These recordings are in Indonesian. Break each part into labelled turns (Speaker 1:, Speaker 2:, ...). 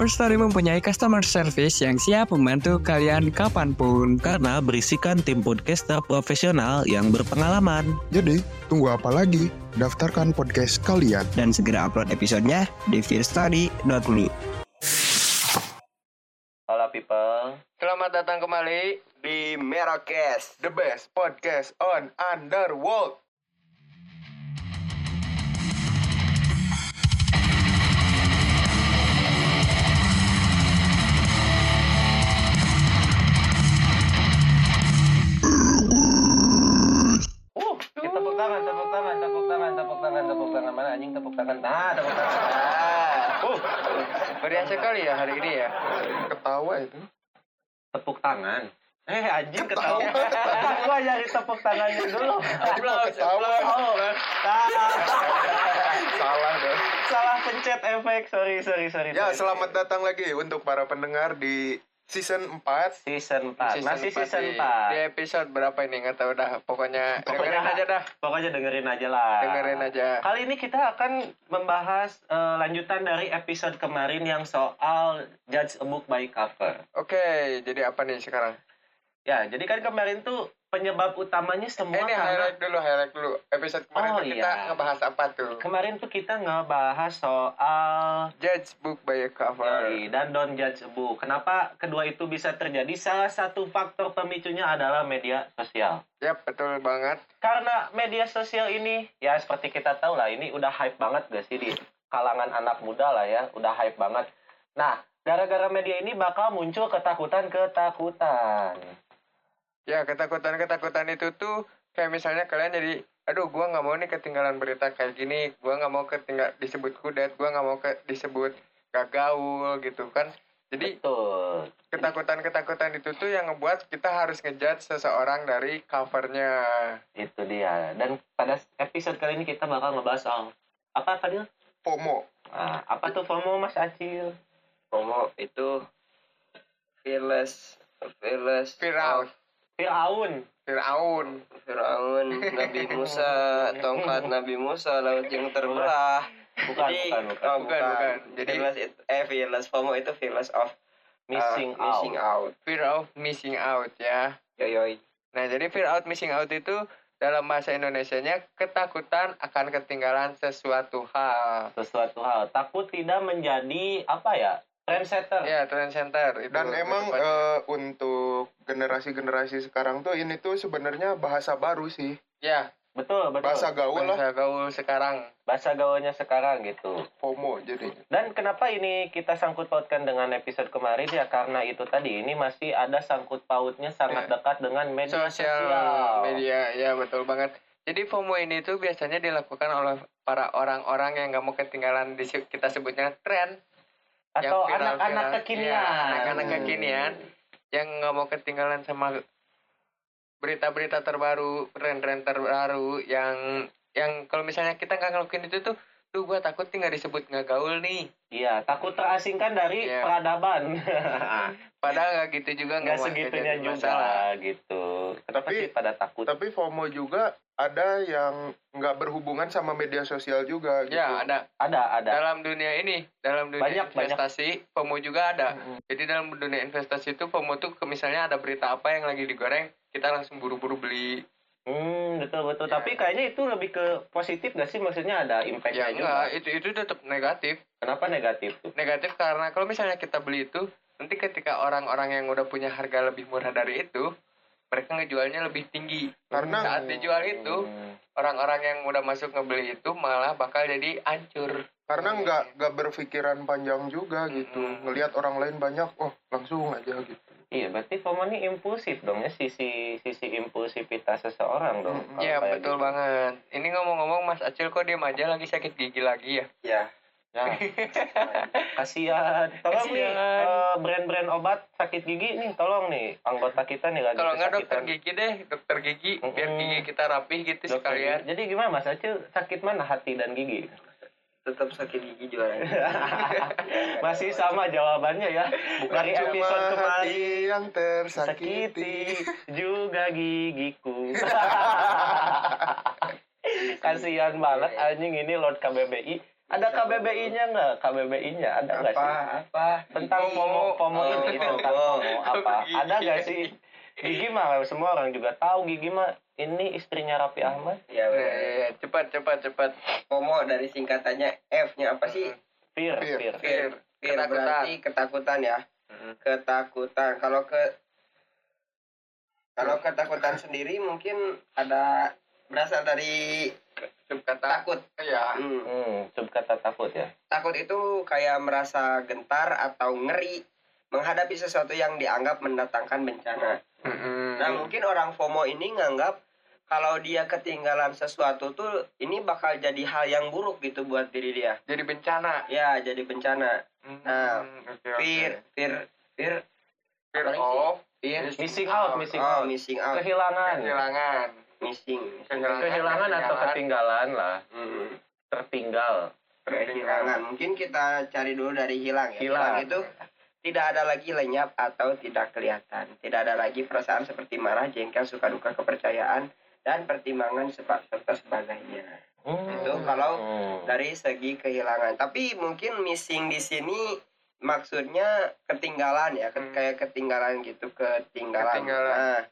Speaker 1: Firstory mempunyai customer service yang siap membantu kalian kapanpun.
Speaker 2: Karena berisikan tim podcaster profesional yang berpengalaman.
Speaker 3: Jadi, tunggu apa lagi? Daftarkan podcast kalian.
Speaker 4: Dan segera upload episodenya di fearstory.me.
Speaker 5: Halo people,
Speaker 6: Selamat datang kembali di Merocast,
Speaker 3: The best podcast on Underworld.
Speaker 5: Ya, tepuk tangan, tepuk tangan, tepuk tangan, tepuk tangan, tepuk tangan mana anjing tepuk tangan, nah tepuk tangan. Ah. Uh,
Speaker 6: Meriah sekali ya hari ini ya.
Speaker 3: Ketawa itu.
Speaker 5: tepuk tangan. Eh anjing ketawa. Gua nyari tepuk tangannya dulu. Applause,
Speaker 3: ketawa.
Speaker 5: applause. Ah.
Speaker 3: Salah dong.
Speaker 5: Salah pencet efek, sorry, sorry, sorry.
Speaker 3: Ya,
Speaker 5: sorry.
Speaker 3: selamat datang lagi untuk para pendengar di season 4.
Speaker 5: Season 4, Ah, masih
Speaker 6: empat Ya.
Speaker 5: season
Speaker 6: di- Di
Speaker 5: 4.
Speaker 6: episode berapa ini nggak tahu dah. Pokoknya,
Speaker 5: Pokoknya-
Speaker 6: dengerin aja dah.
Speaker 5: Pokoknya dengerin aja lah.
Speaker 6: Dengerin aja.
Speaker 5: Kali ini kita akan membahas eh, lanjutan dari episode kemarin yang soal judge a book by cover.
Speaker 6: Oke, jadi apa nih sekarang?
Speaker 5: Ya, jadi kan kemarin tuh penyebab utamanya semua
Speaker 6: Eh, ini
Speaker 5: karena
Speaker 6: highlight dulu, highlight dulu. Episode kemarin
Speaker 5: Oh,
Speaker 6: tuh kita
Speaker 5: iya.
Speaker 6: ngebahas apa tuh?
Speaker 5: kemarin tuh kita ngebahas soal
Speaker 6: Judge book by a cover.
Speaker 5: Yoi, dan don't judge a book. Kenapa kedua itu bisa terjadi? Salah satu faktor pemicunya adalah media sosial.
Speaker 6: Yap, betul banget.
Speaker 5: Karena media sosial ini ya seperti kita tahu lah ini udah hype banget gak sih di kalangan anak muda lah ya, udah hype banget. Nah, gara-gara media ini bakal muncul ketakutan-ketakutan.
Speaker 6: Ya, ketakutan-ketakutan itu tuh kayak misalnya kalian jadi aduh gua nggak mau nih ketinggalan berita kayak gini gua nggak mau ketinggal disebut kudet gua nggak mau ke disebut gak gaul gitu kan jadi
Speaker 5: Betul.
Speaker 6: ketakutan-ketakutan itu tuh yang ngebuat kita harus ngejudge seseorang dari covernya
Speaker 5: itu dia dan pada episode kali ini kita bakal ngebahas soal apa Fadil?
Speaker 3: FOMO.
Speaker 5: Nah, apa tuh FOMO Mas Acil?
Speaker 7: Homo Ah. itu fearless, fearless,
Speaker 6: Firaun
Speaker 5: Fir'aun
Speaker 6: Firaun
Speaker 7: Firaun, Nabi Musa, tongkat Nabi Musa, laut yang terbelah.
Speaker 5: bukan
Speaker 7: Jadi-
Speaker 5: bukan bukan
Speaker 7: Oh,
Speaker 6: bukan,
Speaker 7: bukan,
Speaker 6: bukan. Jadi-
Speaker 7: fearless, it, eh fearless, Homo itu fearless of
Speaker 5: missing
Speaker 7: uh, missing
Speaker 5: out
Speaker 7: out.
Speaker 6: Fear of missing out ya
Speaker 7: Yoyoy.
Speaker 6: nah jadi fear out missing out itu dalam bahasa Indonesianya ketakutan akan ketinggalan sesuatu hal
Speaker 5: sesuatu hal takut tidak menjadi apa ya trendsetter
Speaker 6: ya trend center itu
Speaker 3: Dan emang
Speaker 6: tepatnya.
Speaker 3: eh, untuk generasi-generasi sekarang tuh ini tuh sebenarnya bahasa baru sih.
Speaker 6: ya
Speaker 5: betul betul bahasa,
Speaker 3: Bahasa gaul lah,
Speaker 6: bahasa gaul sekarang
Speaker 5: gaulnya sekarang gitu
Speaker 3: FOMO jadinya.
Speaker 5: dan kenapa ini kita sangkut pautkan dengan episode kemarin ya karena itu tadi ini masih ada sangkut pautnya sangat
Speaker 6: Ya.
Speaker 5: dekat dengan media
Speaker 6: sosial
Speaker 5: sosial,
Speaker 6: media ya betul banget jadi FOMO ini tuh biasanya dilakukan oleh para orang-orang yang nggak mau ketinggalan di se- kita sebutnya tren Yang
Speaker 5: atau
Speaker 6: viral-viral.
Speaker 5: anak-anak
Speaker 6: Iya,
Speaker 5: kekinian
Speaker 6: anak-anak kekinian. yang nggak mau ketinggalan sama berita-berita terbaru, tren-tren terbaru yang yang kalau misalnya kita nggak ngelakuin itu tuh, tuh gua takut nih nggak disebut nggak gaul nih.
Speaker 5: Iya, takut terasingkan dari
Speaker 6: Iya.
Speaker 5: peradaban.
Speaker 6: Padahal nggak gitu juga
Speaker 5: Enggak
Speaker 6: mau
Speaker 5: segitunya
Speaker 6: jadi
Speaker 5: juga
Speaker 6: masalah.
Speaker 5: gitu. Kenapa
Speaker 3: Tapi-
Speaker 5: sih pada takut?
Speaker 3: Tapi FOMO juga ada yang nggak berhubungan sama media sosial juga gitu.
Speaker 6: Ya ada
Speaker 5: Ada, ada.
Speaker 6: dalam dunia ini, dalam dunia
Speaker 5: Banyak, banyak.
Speaker 6: investasi, FOMO juga ada. Jadi dalam dunia investasi itu FOMO tuh ke- misalnya ada berita apa yang lagi digoreng, kita langsung buru-buru beli.
Speaker 5: Hmm, betul betul.
Speaker 6: Iya.
Speaker 5: Tapi kayaknya itu lebih ke positif gak sih? Maksudnya ada
Speaker 6: Ya
Speaker 5: impact-nya juga.
Speaker 6: enggak, itu itu tetap negatif.
Speaker 5: Kenapa negatif tuh?
Speaker 6: negatif karena kalau misalnya kita beli itu nanti ketika orang-orang yang udah punya harga lebih murah dari itu mereka ngejualnya lebih tinggi
Speaker 3: Karena-
Speaker 6: saat dijual itu
Speaker 5: Hmm.
Speaker 6: orang-orang yang udah masuk ngebeli itu malah bakal jadi hancur
Speaker 3: Karena nggak nggak berpikiran panjang juga gitu.
Speaker 6: Mm-mm.
Speaker 3: Ngelihat orang lain banyak, oh langsung aja gitu.
Speaker 5: Iya, berarti FOMO ini impulsif dong ya sisi sisi impulsivitas seseorang dong. kalau
Speaker 6: Iya
Speaker 5: kayak
Speaker 6: betul
Speaker 5: gitu.
Speaker 6: banget. Ini ngomong-ngomong Mas Acil kok diem aja lagi sakit gigi lagi ya?
Speaker 5: Ya. Ya. Kasihan. Tolong nih
Speaker 6: Kasihan.
Speaker 5: eh, brand-brand obat sakit gigi nih, tolong nih anggota kita nih lagi
Speaker 6: Kalau nggak dokter
Speaker 5: kesakitan.
Speaker 6: gigi deh, dokter gigi biar
Speaker 5: Mm-mm.
Speaker 6: gigi kita rapih gitu
Speaker 5: Dokter
Speaker 6: sekalian.
Speaker 5: gigi. Jadi gimana Mas Acil? Sakit mana hati dan gigi?
Speaker 7: tetap sakit gigi juara
Speaker 6: gitu.
Speaker 5: Masih sama jawabannya ya. Dari
Speaker 3: Cuma
Speaker 5: episode
Speaker 3: hati
Speaker 5: kemarin.
Speaker 3: yang tersakiti.
Speaker 5: sakiti juga gigiku. Kasihan
Speaker 7: Iya,
Speaker 5: banget anjing ini Lord KBBI. Ada KBBI-nya nggak? KBBI-nya ada nggak sih?
Speaker 7: apa Oh, iya,
Speaker 5: Tentang pomo pomo
Speaker 6: Oh,
Speaker 5: ini tentang pomo apa? Ada nggak sih? Gigi mah semua orang juga tahu gigi mah ini istrinya Raffi Ahmad.
Speaker 6: Ya,
Speaker 7: ya benar.
Speaker 6: ya, ya. cepat cepat cepat.
Speaker 7: pomo dari singkatannya F nya apa sih
Speaker 5: Fir,
Speaker 3: Fir.
Speaker 5: Fir.
Speaker 6: Fir.
Speaker 7: Fear
Speaker 6: Mm-hmm. Ketakutan. Mm-hmm.
Speaker 7: berarti ketakutan ya
Speaker 5: Mhm.
Speaker 7: ketakutan kalau ke kalau ketakutan sendiri mungkin ada berasal dari
Speaker 6: Subkata.
Speaker 7: takut
Speaker 6: Ya.
Speaker 7: Hmm.
Speaker 5: Hmm, subkata takut ya.
Speaker 7: takut itu kayak merasa gentar atau ngeri menghadapi sesuatu yang dianggap mendatangkan bencana Nah
Speaker 6: Mm-hmm.
Speaker 7: mungkin orang FOMO ini nganggap kalau dia ketinggalan sesuatu tuh ini bakal jadi hal yang buruk gitu buat diri dia.
Speaker 6: Jadi bencana.
Speaker 7: Ya jadi bencana. Nah,
Speaker 6: Hmm, oke, oke.
Speaker 7: Fear, fear, fear,
Speaker 6: Fear
Speaker 7: apalagi sih?
Speaker 6: of
Speaker 7: fear.
Speaker 5: Missing out, missing
Speaker 7: Oh
Speaker 5: out.
Speaker 7: missing out,
Speaker 5: Kehilangan.
Speaker 6: kehilangan.
Speaker 7: missing.
Speaker 5: Kehilangan atau ketinggalan lah.
Speaker 7: Mm,
Speaker 5: Tertinggal.
Speaker 7: Kehilangan. Mungkin kita cari dulu dari hilang ya.
Speaker 5: Hilang.
Speaker 7: itu tidak ada lagi lenyap atau tidak kelihatan. Tidak ada lagi perasaan seperti marah, jengkel, suka duka, kepercayaan dan pertimbangan sebab serta sebagainya. Itu kalau
Speaker 5: Hmm.
Speaker 7: dari segi kehilangan. Tapi mungkin missing di sini maksudnya ketinggalan ya, Ket-
Speaker 6: Hmm.
Speaker 7: kayak ketinggalan gitu, ketinggalan.
Speaker 6: Ketinggalan.
Speaker 7: Nah,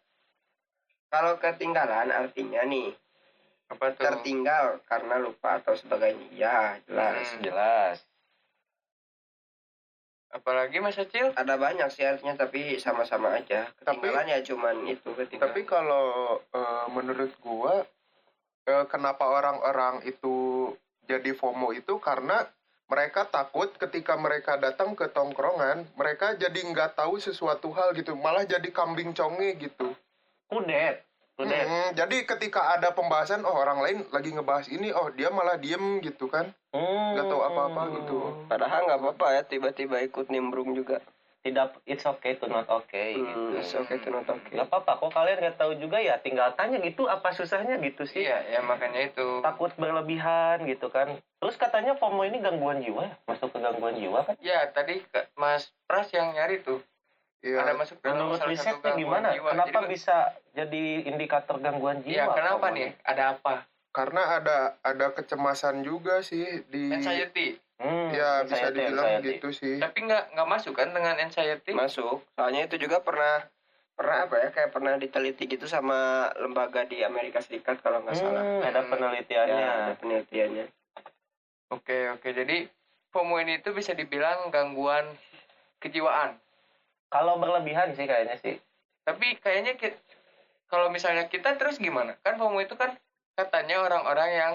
Speaker 7: kalau ketinggalan artinya nih
Speaker 5: Hmm.
Speaker 6: Apa tuh?
Speaker 7: tertinggal karena lupa atau sebagainya. Ya, jelas.
Speaker 6: Hmm.
Speaker 5: jelas
Speaker 6: Apalagi Mas Acil?
Speaker 7: Ada banyak sih artinya tapi sama-sama aja.
Speaker 6: Tapi-
Speaker 7: Ketinggalan ya cuman itu ketinggalan.
Speaker 5: Iya.
Speaker 6: Tapi kalau eh, menurut gua eh, kenapa orang-orang itu jadi FOMO itu karena mereka takut ketika mereka datang ke tongkrongan, mereka jadi nggak tahu sesuatu hal gitu, malah jadi kambing conge gitu.
Speaker 5: kudet kudet
Speaker 6: Hmm, jadi ketika ada pembahasan, oh orang lain lagi ngebahas ini, oh dia malah diem gitu kan,
Speaker 5: Hmm.
Speaker 6: nggak tahu apa-apa gitu.
Speaker 7: Padahal nggak apa-apa ya tiba-tiba ikut nimbrung juga.
Speaker 5: tidak it's okay to not okay
Speaker 7: Hmm,
Speaker 5: gitu
Speaker 7: it's okay to not okay.
Speaker 5: nggak apa-apa kok kalian nggak tahu juga ya tinggal tanya gitu apa susahnya gitu sih
Speaker 6: ya makanya itu.
Speaker 5: takut berlebihan gitu kan terus katanya FOMO ini gangguan jiwa ya? masuk ke gangguan jiwa kan
Speaker 6: Ya tadi Mas Pras yang nyari tuh,
Speaker 7: Iya.
Speaker 6: ada masuk
Speaker 5: menurut risetnya gimana kenapa bisa jadi indikator gangguan
Speaker 6: kan-
Speaker 5: jiwa
Speaker 6: Iya, kenapa
Speaker 5: FOMO
Speaker 6: nih?
Speaker 5: ini?
Speaker 6: Ada apa?
Speaker 8: karena ada ada kecemasan juga sih
Speaker 7: Iya.
Speaker 8: di
Speaker 6: Anxiety.
Speaker 5: hmm,
Speaker 8: ya bisa
Speaker 5: anxiety,
Speaker 8: dibilang
Speaker 5: anxiety.
Speaker 8: gitu sih
Speaker 6: Tapi nggak nggak masuk kan dengan anxiety?
Speaker 7: masuk soalnya itu juga pernah pernah apa ya kayak pernah diteliti gitu sama lembaga di Amerika Serikat kalau nggak salah
Speaker 5: Hmm, ada
Speaker 7: ya,
Speaker 5: penelitiannya
Speaker 7: ada penelitiannya
Speaker 6: Oke oke. Jadi FOMO ini itu bisa dibilang gangguan kejiwaan.
Speaker 5: kalau berlebihan sih kayaknya sih
Speaker 6: Tapi kayaknya ki- kalau misalnya kita terus gimana? Kan FOMO itu kan katanya orang-orang yang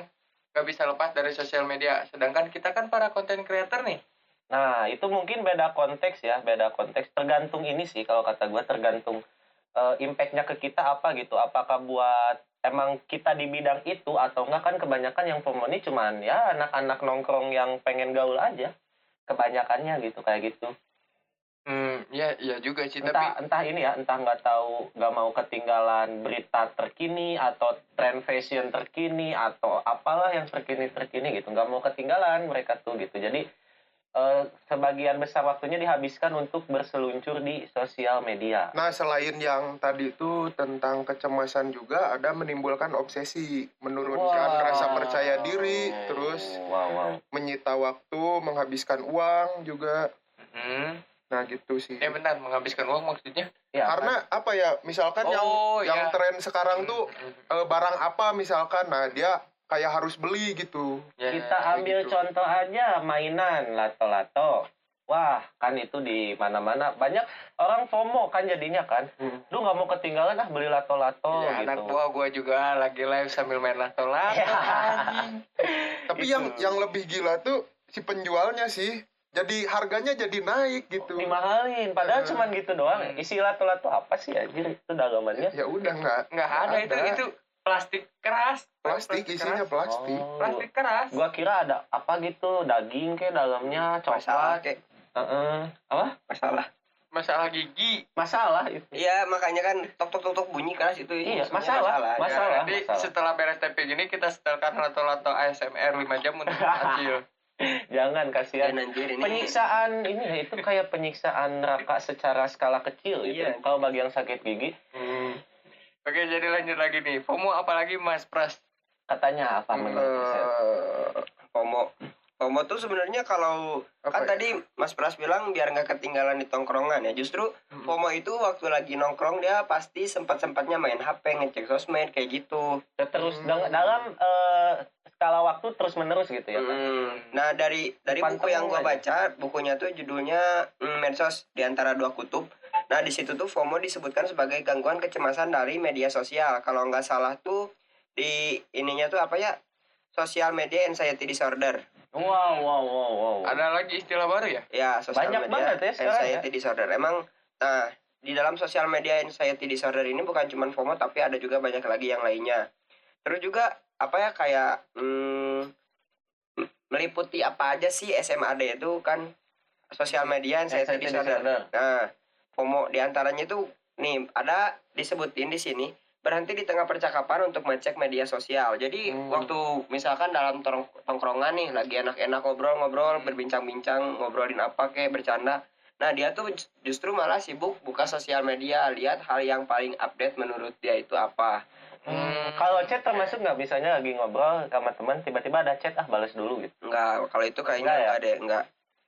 Speaker 6: nggak bisa lepas dari sosial media. Sedangkan kita kan para content creator nih.
Speaker 5: Nah, itu mungkin beda konteks ya, beda konteks. Tergantung ini sih, kalau kata gue tergantung eh, impact-nya ke kita apa gitu. Apakah buat emang kita di bidang itu atau enggak kan kebanyakan yang FOMO ini cuman ya anak-anak nongkrong yang pengen gaul aja. Kebanyakannya gitu, kayak gitu.
Speaker 6: Hmm, ya ya juga sih. Tapi
Speaker 5: Entah, entah ini ya, entah nggak tahu, nggak mau ketinggalan berita terkini atau tren fashion terkini atau apalah yang terkini terkini gitu, nggak mau ketinggalan mereka tuh gitu. Jadi eh, sebagian besar waktunya dihabiskan untuk berseluncur di sosial media.
Speaker 8: nah selain yang tadi itu tentang kecemasan juga ada menimbulkan obsesi menurunkan
Speaker 5: Wow.
Speaker 8: rasa percaya diri terus
Speaker 5: wow, wow.
Speaker 8: menyita waktu menghabiskan uang juga
Speaker 6: Hmm,
Speaker 8: nah gitu sih
Speaker 6: ya benar menghabiskan uang maksudnya.
Speaker 5: Ya,
Speaker 8: karena apa ya misalkan yang
Speaker 6: oh
Speaker 8: yang
Speaker 6: ya.
Speaker 8: tren sekarang tuh eh, barang apa misalkan nah dia kayak harus beli gitu
Speaker 6: Ya,
Speaker 5: kan? kita
Speaker 6: kayak
Speaker 5: ambil
Speaker 6: gitu.
Speaker 5: contoh aja mainan lato-lato. Wah, kan itu di mana-mana banyak orang FOMO kan jadinya kan. Lu nggak mau ketinggalan ah beli
Speaker 6: Hmm.
Speaker 5: lato-lato
Speaker 6: Iya,
Speaker 5: gitu.
Speaker 6: anak buah gue juga lagi live sambil main lato-lato.
Speaker 5: Ya.
Speaker 6: anjing.
Speaker 8: tapi
Speaker 5: Itu.
Speaker 8: yang yang lebih gila tuh si penjualnya sih jadi harganya jadi naik gitu
Speaker 5: dimahalin padahal
Speaker 8: Hmm.
Speaker 5: cuman gitu doang ya.
Speaker 6: Hmm.
Speaker 5: isi latu-latu apa sih anjir itu dagamannya
Speaker 8: ya udah nggak
Speaker 6: nggak ada, itu itu plastik keras
Speaker 8: plastik isinya
Speaker 6: keras.
Speaker 8: plastik
Speaker 5: Oh.
Speaker 6: plastik keras
Speaker 5: gua kira ada apa gitu daging kayak dalamnya coklat
Speaker 7: masalah kayak
Speaker 5: Heeh. apa
Speaker 7: masalah
Speaker 6: masalah gigi
Speaker 5: masalah itu
Speaker 7: iya makanya kan tok tok tok tok bunyi keras itu
Speaker 5: Iya,
Speaker 7: sebenarnya
Speaker 5: masalah.
Speaker 7: masalah.
Speaker 5: Masalah,
Speaker 6: jadi
Speaker 5: masalah.
Speaker 6: setelah beres TP gini kita setelkan lato-lato ASMR 5 jam untuk kecil
Speaker 5: jangan
Speaker 7: Ya,
Speaker 5: kasihan
Speaker 7: Dan anjir ini
Speaker 5: penyiksaan ini ya itu kayak penyiksaan neraka secara skala kecil itu
Speaker 7: Iya.
Speaker 5: kalau bagi yang sakit gigi
Speaker 6: oke jadi lanjut lagi nih FOMO apalagi Mas Pras
Speaker 5: katanya apa menurut riset?
Speaker 7: eh, FOMO FOMO tuh sebenarnya kalau
Speaker 8: Apa
Speaker 7: kan
Speaker 8: ya?
Speaker 7: tadi Mas Pras bilang biar nggak ketinggalan di tongkrongan ya justru
Speaker 8: Mm-mm.
Speaker 7: FOMO itu waktu lagi nongkrong dia pasti sempat sempatnya main HP ngecek sosmed kayak gitu
Speaker 5: Ya, terus
Speaker 8: Hmm.
Speaker 5: dang- dalam eh, skala waktu terus menerus gitu ya kan?
Speaker 7: Mm. Nah dari dari
Speaker 5: Depan
Speaker 7: buku yang
Speaker 5: tengah
Speaker 7: gua
Speaker 5: aja.
Speaker 7: baca, bukunya tuh judulnya mm, Medsos di antara dua kutub. Nah di situ tuh FOMO disebutkan sebagai gangguan kecemasan dari media sosial. Kalau nggak salah tuh di ininya tuh apa ya? Social media anxiety disorder.
Speaker 5: wow wow wow wow
Speaker 6: ada lagi istilah baru ya
Speaker 7: Ya, social
Speaker 5: Banyak
Speaker 7: media
Speaker 5: banget ya sekarang ya.
Speaker 7: anxiety disorder. Emang nah, di dalam social media anxiety disorder ini bukan cuma FOMO tapi ada juga banyak lagi yang lainnya. Terus juga apa ya kayak hmm, m- meliputi apa aja sih SMAD itu kan social media anxiety,
Speaker 5: Anxiety
Speaker 7: disorder.
Speaker 5: disorder.
Speaker 7: Nah, FOMO diantaranya itu nih ada disebutin di sini berhenti di tengah percakapan untuk ngecek media sosial. Jadi
Speaker 8: Hmm.
Speaker 7: waktu misalkan dalam tong- tongkrongan nih lagi enak-enak ngobrol-ngobrol, berbincang-bincang, ngobrolin apa kayak bercanda. Nah dia tuh ju- justru malah sibuk buka sosial media, lihat hal yang paling update menurut dia itu apa.
Speaker 5: Hmm, kalau chat termasuk nggak misalnya lagi ngobrol sama teman tiba-tiba ada chat ah balas dulu gitu
Speaker 7: Enggak, kalau itu kayaknya
Speaker 5: Enggak ya?
Speaker 7: enggak, deh, enggak.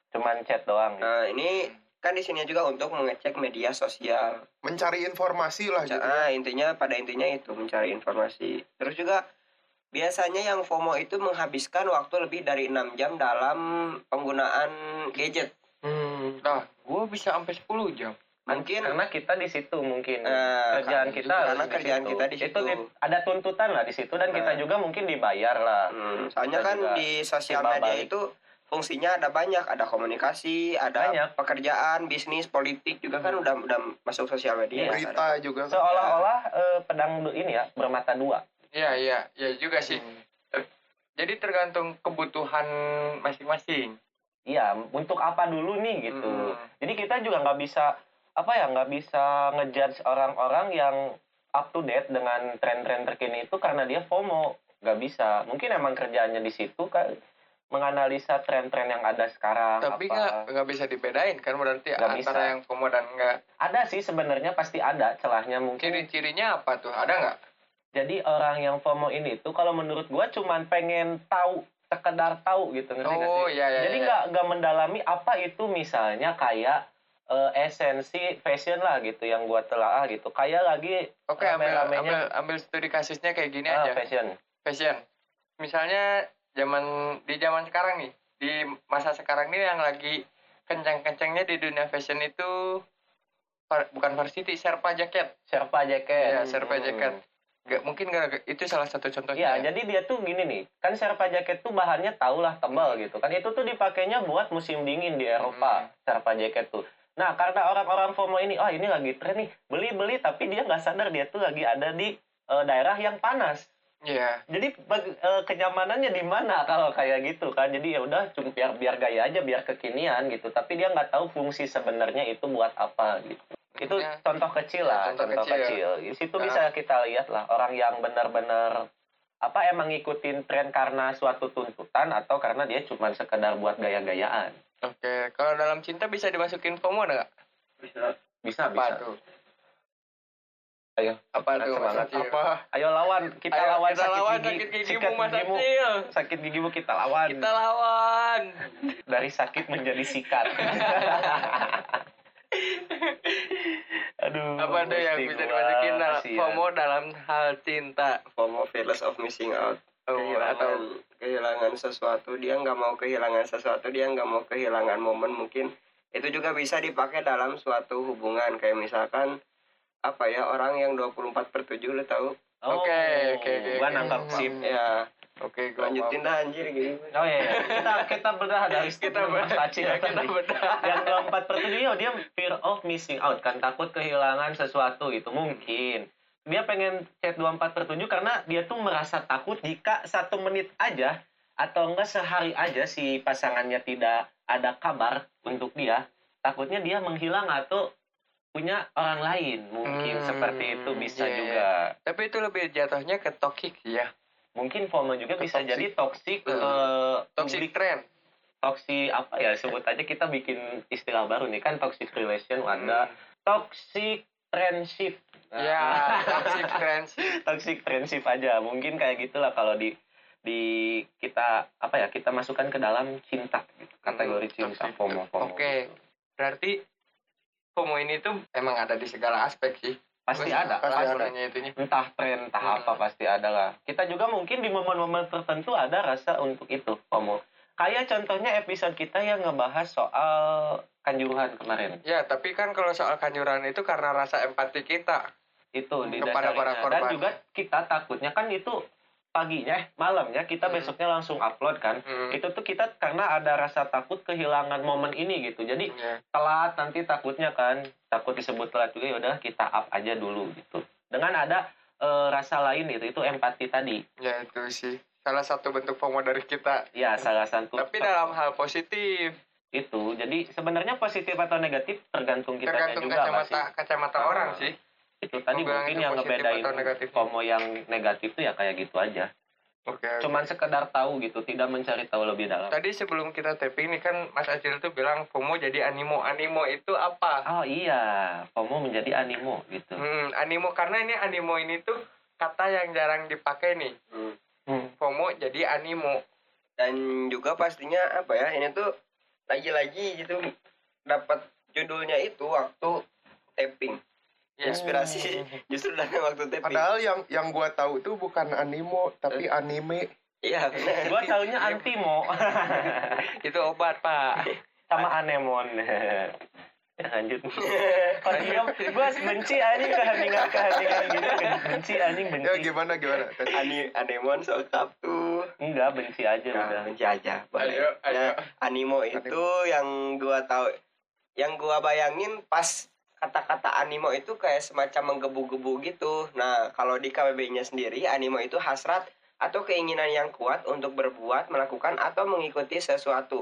Speaker 5: cuman chat doang gitu.
Speaker 7: Nah ini kan di sini juga untuk mengecek media sosial.
Speaker 8: mencari informasi lah gitu
Speaker 7: Nah, intinya pada intinya itu mencari informasi. Terus juga biasanya yang FOMO itu menghabiskan waktu lebih dari enam jam dalam penggunaan gadget.
Speaker 5: Hmm.
Speaker 6: nah gua bisa sampai 10 jam
Speaker 7: Mungkin
Speaker 5: Nah, karena kita di situ mungkin
Speaker 7: eh,
Speaker 5: Ah, kerjaan kita
Speaker 7: karena
Speaker 5: harus di
Speaker 7: kerjaan
Speaker 5: situ.
Speaker 7: kita di situ.
Speaker 5: itu di- ada tuntutan lah di situ dan kita
Speaker 7: Nah.
Speaker 5: juga mungkin dibayar lah
Speaker 7: Hmm, soalnya
Speaker 5: Kita
Speaker 7: kan
Speaker 5: juga
Speaker 7: di sosial
Speaker 5: timbal
Speaker 7: media
Speaker 5: balik.
Speaker 7: itu fungsinya ada banyak, ada komunikasi, ada
Speaker 5: Banyak. Hmm.
Speaker 7: pekerjaan, bisnis, politik juga kan udah udah masuk sosial media.
Speaker 5: Iya.
Speaker 8: berita juga kan.
Speaker 5: seolah-olah eh, pedang du- ini ya bermata dua
Speaker 6: Iya, iya, iya juga sih. Jadi tergantung kebutuhan masing-masing.
Speaker 5: Iya, untuk apa dulu nih gitu.
Speaker 6: Hmm.
Speaker 5: Jadi kita juga nggak bisa apa ya nggak bisa ngejudge orang-orang yang up to date dengan tren-tren terkini itu karena dia FOMO nggak bisa. Mungkin emang kerjaannya di situ kan menganalisa tren-tren yang ada sekarang.
Speaker 6: Tapi
Speaker 5: apa.
Speaker 6: nggak nggak bisa dibedain kan berarti
Speaker 5: Nggak
Speaker 6: antara
Speaker 5: bisa.
Speaker 6: yang FOMO dan nggak.
Speaker 5: ada sih sebenarnya pasti ada celahnya mungkin.
Speaker 6: Ciri-cirinya apa tuh? Ada nggak?
Speaker 5: Jadi orang yang FOMO ini tuh kalau menurut gua cuman pengen tahu sekedar tahu gitu ngerti nggak sih?
Speaker 6: Oh, iya, iya. iya.
Speaker 5: Jadi nggak nggak mendalami apa itu misalnya kayak eh, esensi fashion lah gitu yang gua telah gitu. Kayak lagi
Speaker 6: Oke, ambil,
Speaker 5: rame-ramenya.
Speaker 6: ambil ambil studi kasusnya kayak gini
Speaker 5: ah,
Speaker 6: aja.
Speaker 5: fashion.
Speaker 6: Fashion. Misalnya zaman di zaman sekarang nih, di masa sekarang ini yang lagi kencang-kencangnya di dunia fashion itu par- bukan varsity, serpa jaket.
Speaker 5: Sherpa jacket.
Speaker 6: Iya, Sherpa jacket. Nggak- mungkin gara-gara itu salah satu
Speaker 5: Iya,
Speaker 6: contohnya. ya.
Speaker 5: jadi dia tuh gini nih, kan Sherpa jaket tuh bahannya tau lah tebal gitu kan. Itu tuh dipakainya buat musim dingin di Eropa, Sherpa jaket tuh. Nah, karena orang-orang FOMO ini, oh ini lagi tren nih, beli-beli tapi dia nggak sadar dia tuh lagi ada di eh, daerah yang panas.
Speaker 6: Iya.
Speaker 5: jadi bag- eh, kenyamanannya di mana kalau kayak gitu kan jadi ya udah cuma biar biar gaya aja biar kekinian gitu tapi dia nggak tahu fungsi sebenarnya itu buat apa gitu itu
Speaker 6: Ya.
Speaker 5: contoh kecil lah
Speaker 6: Contoh
Speaker 5: contoh,
Speaker 6: kecil.
Speaker 5: kecil. di situ bisa kita lihat lah orang yang benar-benar apa emang ngikutin tren karena suatu tuntutan atau karena dia cuma sekedar buat gaya-gayaan
Speaker 6: Oke, kalau dalam cinta bisa dimasukin FOMO nggak? Apa
Speaker 5: bisa bisa
Speaker 6: tuh?
Speaker 5: Ayo.
Speaker 6: Apa
Speaker 5: Semangat,
Speaker 6: tuh, Mas
Speaker 5: semangat.
Speaker 6: Acil?
Speaker 8: apa
Speaker 5: ayo lawan kita
Speaker 6: Ayo,
Speaker 5: lawan
Speaker 6: kita
Speaker 5: sakit
Speaker 6: lawan
Speaker 5: gigi
Speaker 6: sakit gigimu,
Speaker 5: sikat
Speaker 6: Mas
Speaker 5: gigimu.
Speaker 6: Acil.
Speaker 5: sakit gigimu kita lawan
Speaker 6: Kita lawan.
Speaker 5: dari sakit menjadi sikat. Aduh.
Speaker 6: Apa tuh yang
Speaker 5: Oh, mesti
Speaker 6: bisa
Speaker 5: gua,
Speaker 6: dimasukin dalam
Speaker 5: kasihan.
Speaker 6: FOMO dalam hal cinta?
Speaker 7: FOMO fearless of missing out.
Speaker 6: Oh,
Speaker 7: kehilangan
Speaker 6: atau
Speaker 7: kehilangan sesuatu dia nggak mau kehilangan sesuatu dia nggak mau kehilangan momen mungkin itu juga bisa dipakai dalam suatu hubungan kayak misalkan apa ya orang yang 24 per 7 lu tahu
Speaker 5: Oh,
Speaker 6: Oke, oke, oke, oke.
Speaker 5: Gua Hmm. nangkap sip.
Speaker 7: ya
Speaker 6: Oke, gua
Speaker 7: lanjutin dah anjir gitu
Speaker 5: Oh iya, iya. kita kita bedah dari
Speaker 6: Kita
Speaker 5: statement
Speaker 6: bedah.
Speaker 5: Versace
Speaker 6: Ya, kita
Speaker 5: tadi.
Speaker 6: bedah.
Speaker 5: Yang keempat pertanyaan dia fear of missing out kan takut kehilangan sesuatu gitu mungkin. Dia pengen chat 24 per 7 karena dia tuh merasa takut jika satu menit aja atau enggak sehari aja si pasangannya tidak ada kabar untuk dia, takutnya dia menghilang atau punya orang lain mungkin
Speaker 6: Hmm,
Speaker 5: seperti itu bisa
Speaker 6: iya, iya.
Speaker 5: juga.
Speaker 6: Tapi itu lebih jatuhnya ke tokik ya.
Speaker 5: Mungkin FOMO juga
Speaker 6: Ke
Speaker 5: bisa
Speaker 6: toxic.
Speaker 5: jadi toxic
Speaker 6: Hmm.
Speaker 5: eh,
Speaker 6: Toxic trend.
Speaker 5: toxic apa ya sebut aja kita bikin istilah baru nih kan toxic relation ada
Speaker 6: Hmm.
Speaker 5: toxic friendship Nah,
Speaker 6: Ya, toxic trend.
Speaker 5: toxic friendship aja mungkin kayak gitulah kalau di di kita apa ya kita masukkan ke dalam cinta gitu, kategori
Speaker 6: Hmm,
Speaker 5: cinta
Speaker 6: toxic. Oke.
Speaker 5: FOMO FOMO
Speaker 6: Berarti homo ini tuh emang ada di segala aspek sih.
Speaker 5: pasti
Speaker 6: Gua
Speaker 5: ada
Speaker 6: Pasti
Speaker 5: pasti
Speaker 6: ada. Itunya.
Speaker 5: entah tren entah
Speaker 6: Hmm.
Speaker 5: apa pasti ada lah kita juga mungkin di momen-momen tertentu ada rasa untuk itu FOMO kayak contohnya episode kita yang ngebahas soal kanjuruhan kemarin
Speaker 6: Ya, tapi kan kalau soal kanjuran itu karena rasa empati kita.
Speaker 5: itu di
Speaker 6: Hmm, Kepada para
Speaker 5: dan
Speaker 6: korban.
Speaker 5: juga kita takutnya kan itu paginya eh, malamnya kita
Speaker 6: Hmm.
Speaker 5: besoknya langsung upload kan
Speaker 6: Hmm.
Speaker 5: itu tuh kita karena ada rasa takut kehilangan momen ini gitu jadi
Speaker 6: Ya.
Speaker 5: telat nanti takutnya kan takut disebut telat juga ya udah kita up aja dulu gitu dengan ada eh, rasa lain itu itu empati tadi
Speaker 6: ya, itu sih salah satu bentuk FOMO dari kita.
Speaker 5: ya salah satu
Speaker 6: Hmm. Tapi dalam hal positif,
Speaker 5: itu jadi sebenarnya positif atau negatif tergantung kita
Speaker 6: tergantung
Speaker 5: juga nggak sih?
Speaker 6: kacamata kacamata
Speaker 5: Ah.
Speaker 6: orang sih.
Speaker 5: itu tadi
Speaker 6: Mau bilang
Speaker 5: mungkin
Speaker 6: itu
Speaker 5: yang
Speaker 6: positif
Speaker 5: ngebedain
Speaker 6: atau negatif.
Speaker 5: FOMO yang negatif tuh ya kayak gitu aja
Speaker 6: Oke.
Speaker 5: cuman sekedar tahu gitu tidak mencari tahu lebih dalam
Speaker 6: Tadi sebelum kita tapping nih kan Mas Acil tuh bilang FOMO jadi animo. Animo itu apa?
Speaker 5: oh iya FOMO menjadi animo gitu
Speaker 6: Hmm, animo karena ini animo ini tuh kata yang jarang dipakai nih.
Speaker 5: Hmm.
Speaker 6: FOMO jadi animo.
Speaker 7: dan juga pastinya apa ya ini tuh lagi-lagi gitu dapat judulnya itu waktu tapping
Speaker 6: Ya.
Speaker 5: Hmm.
Speaker 7: inspirasi justru dari waktu tapping
Speaker 8: Padahal yang yang gua tahu tuh bukan animo tapi anime.
Speaker 7: iya bener.
Speaker 5: gua taunya antimo
Speaker 6: Itu obat, Pak.
Speaker 5: sama anemon ya lanjut Perdiam, gua benci anjing keheningan keheningan gitu benci anjing benci
Speaker 8: Ya gimana gimana? Tadi
Speaker 7: Ani anemon sokap tuh
Speaker 5: enggak benci aja Iya, udah
Speaker 7: Nah, benci aja boleh
Speaker 6: Ayo, ayo.
Speaker 7: Nah, animo itu yang gua tahu yang gua bayangin pas kata-kata animo itu kayak semacam menggebu-gebu gitu nah kalau di KBB-nya sendiri animo itu hasrat atau keinginan yang kuat untuk berbuat melakukan atau mengikuti sesuatu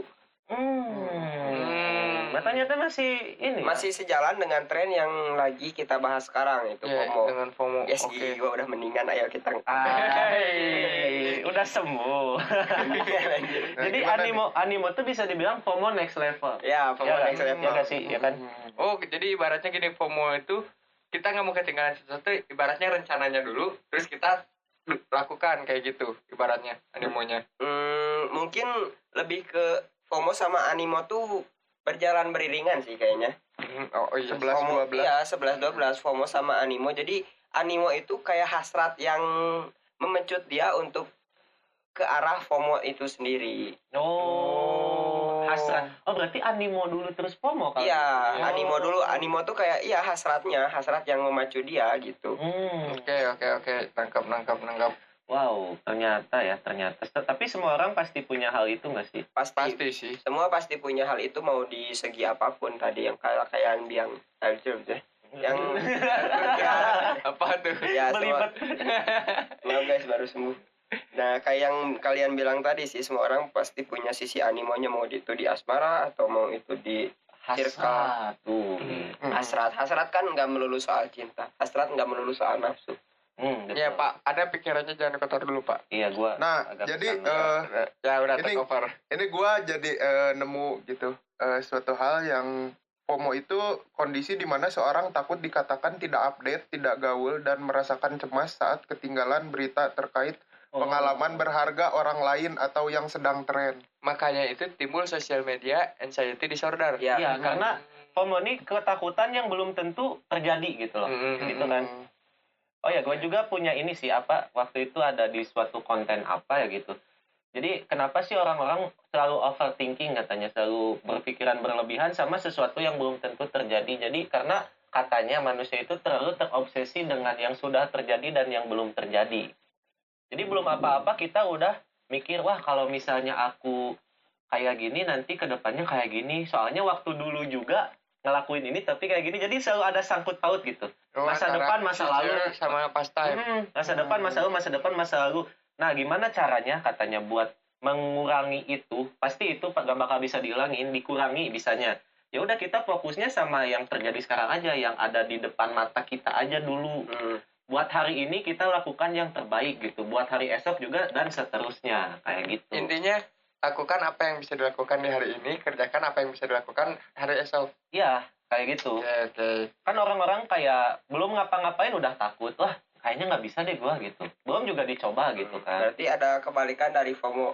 Speaker 5: hmm. Nah, ternyata masih ini ya?
Speaker 7: masih sejalan dengan tren yang lagi kita bahas sekarang itu
Speaker 6: Ya,
Speaker 5: Iya,
Speaker 7: FOMO
Speaker 6: dengan FOMO.
Speaker 7: SG gua udah mendingan ayo kita
Speaker 5: Hai, udah sembuh.
Speaker 7: Nah,
Speaker 5: Jadi
Speaker 8: gimana
Speaker 5: animo animo tuh bisa dibilang FOMO next level.
Speaker 7: ya FOMO
Speaker 5: Ya,
Speaker 7: next level.
Speaker 5: ya gak sih, ya kan?
Speaker 6: Oh, jadi ibaratnya gini FOMO itu kita nggak mau ketinggalan sesuatu, ibaratnya rencananya dulu, terus kita lakukan kayak gitu, ibaratnya animonya.
Speaker 7: Hmm, mungkin lebih ke FOMO sama animo tuh berjalan beriringan sih kayaknya.
Speaker 6: Hmm, Oh, oh iya.
Speaker 8: 11
Speaker 7: FOMO,
Speaker 8: 12.
Speaker 7: Iya, 11 12 FOMO sama animo. Jadi animo itu kayak hasrat yang memecut dia untuk ke arah FOMO itu sendiri.
Speaker 5: Oh, hasrat. Oh, berarti animo dulu terus FOMO kalau
Speaker 7: Iya,
Speaker 5: gitu ya?
Speaker 7: animo dulu. Animo tuh kayak iya hasratnya, hasrat yang memacu dia gitu.
Speaker 5: Hmm,
Speaker 6: Oke, oke, oke. Nangkap, nangkap, nangkap.
Speaker 5: wow, ternyata ya, ternyata. Tapi semua orang pasti punya hal itu nggak sih?
Speaker 7: Pasti,
Speaker 6: Pasti sih.
Speaker 7: semua pasti punya hal itu mau di segi apapun tadi yang kayak kayak gitu, yang yang
Speaker 5: Hmm,
Speaker 7: ya,
Speaker 6: Apa tuh?
Speaker 7: ya
Speaker 5: Belibet.
Speaker 7: semua- Maaf guys baru sembuh. Nah kayak yang kalian bilang tadi sih semua orang pasti punya sisi animonya mau itu di asmara atau mau itu di
Speaker 5: Hasrat tuh.
Speaker 7: Hmm,
Speaker 6: Hmm.
Speaker 5: Iya.
Speaker 7: hasrat. Hasrat kan nggak melulu soal cinta. Hasrat nggak melulu soal nafsu. Iya,
Speaker 5: Hmm, betul.
Speaker 6: Ya Pak, ada pikirannya jangan kotor dulu Pak.
Speaker 5: Iya, gua.
Speaker 8: Nah,
Speaker 5: agak
Speaker 8: jadi
Speaker 5: kesana.
Speaker 8: eh,
Speaker 6: Ya udah
Speaker 8: Ini-
Speaker 6: take over.
Speaker 8: ini gua jadi eh, nemu gitu eh, suatu hal yang FOMO itu kondisi di mana seorang takut dikatakan tidak update, tidak gaul dan merasakan cemas saat ketinggalan berita terkait
Speaker 5: Oh.
Speaker 8: pengalaman berharga orang lain atau yang sedang tren.
Speaker 6: Makanya itu timbul sosial media anxiety disorder.
Speaker 7: Ya.
Speaker 5: Iya, karena FOMO ini ketakutan yang belum tentu terjadi gitu loh.
Speaker 6: Hmm.
Speaker 5: Gitu kan. Oh ya, gue juga punya ini sih apa waktu itu ada di suatu konten apa ya gitu. Jadi kenapa sih orang-orang selalu overthinking katanya selalu berpikiran berlebihan sama sesuatu yang belum tentu terjadi. Jadi karena katanya manusia itu terlalu terobsesi dengan yang sudah terjadi dan yang belum terjadi. Jadi belum apa-apa kita udah mikir wah kalau misalnya aku kayak gini nanti kedepannya kayak gini. Soalnya waktu dulu juga ngelakuin ini tapi kayak gini. Jadi selalu ada sangkut paut gitu.
Speaker 6: Oh,
Speaker 5: Masa
Speaker 6: antara
Speaker 5: depan, masa lalu.
Speaker 6: future sama past time.
Speaker 5: Mm, masa depan masa lalu masa depan masa lalu nah gimana caranya katanya buat mengurangi itu pasti itu gak bakal bisa dihilangin dikurangi bisanya ya udah kita fokusnya sama yang terjadi sekarang aja yang ada di depan mata kita aja dulu
Speaker 7: Mm-hmm.
Speaker 5: buat hari ini kita lakukan yang terbaik gitu buat hari esok juga dan seterusnya kayak gitu
Speaker 6: Intinya lakukan apa yang bisa dilakukan di hari ini, kerjakan apa yang bisa dilakukan hari esok.
Speaker 5: ya kayak
Speaker 7: Iya.
Speaker 5: gitu
Speaker 6: Oke, oke.
Speaker 5: kan orang-orang kayak belum ngapa-ngapain udah takut wah kayaknya nggak bisa deh gua gitu belum juga dicoba gitu kan
Speaker 7: Berarti ada kebalikan dari FOMO.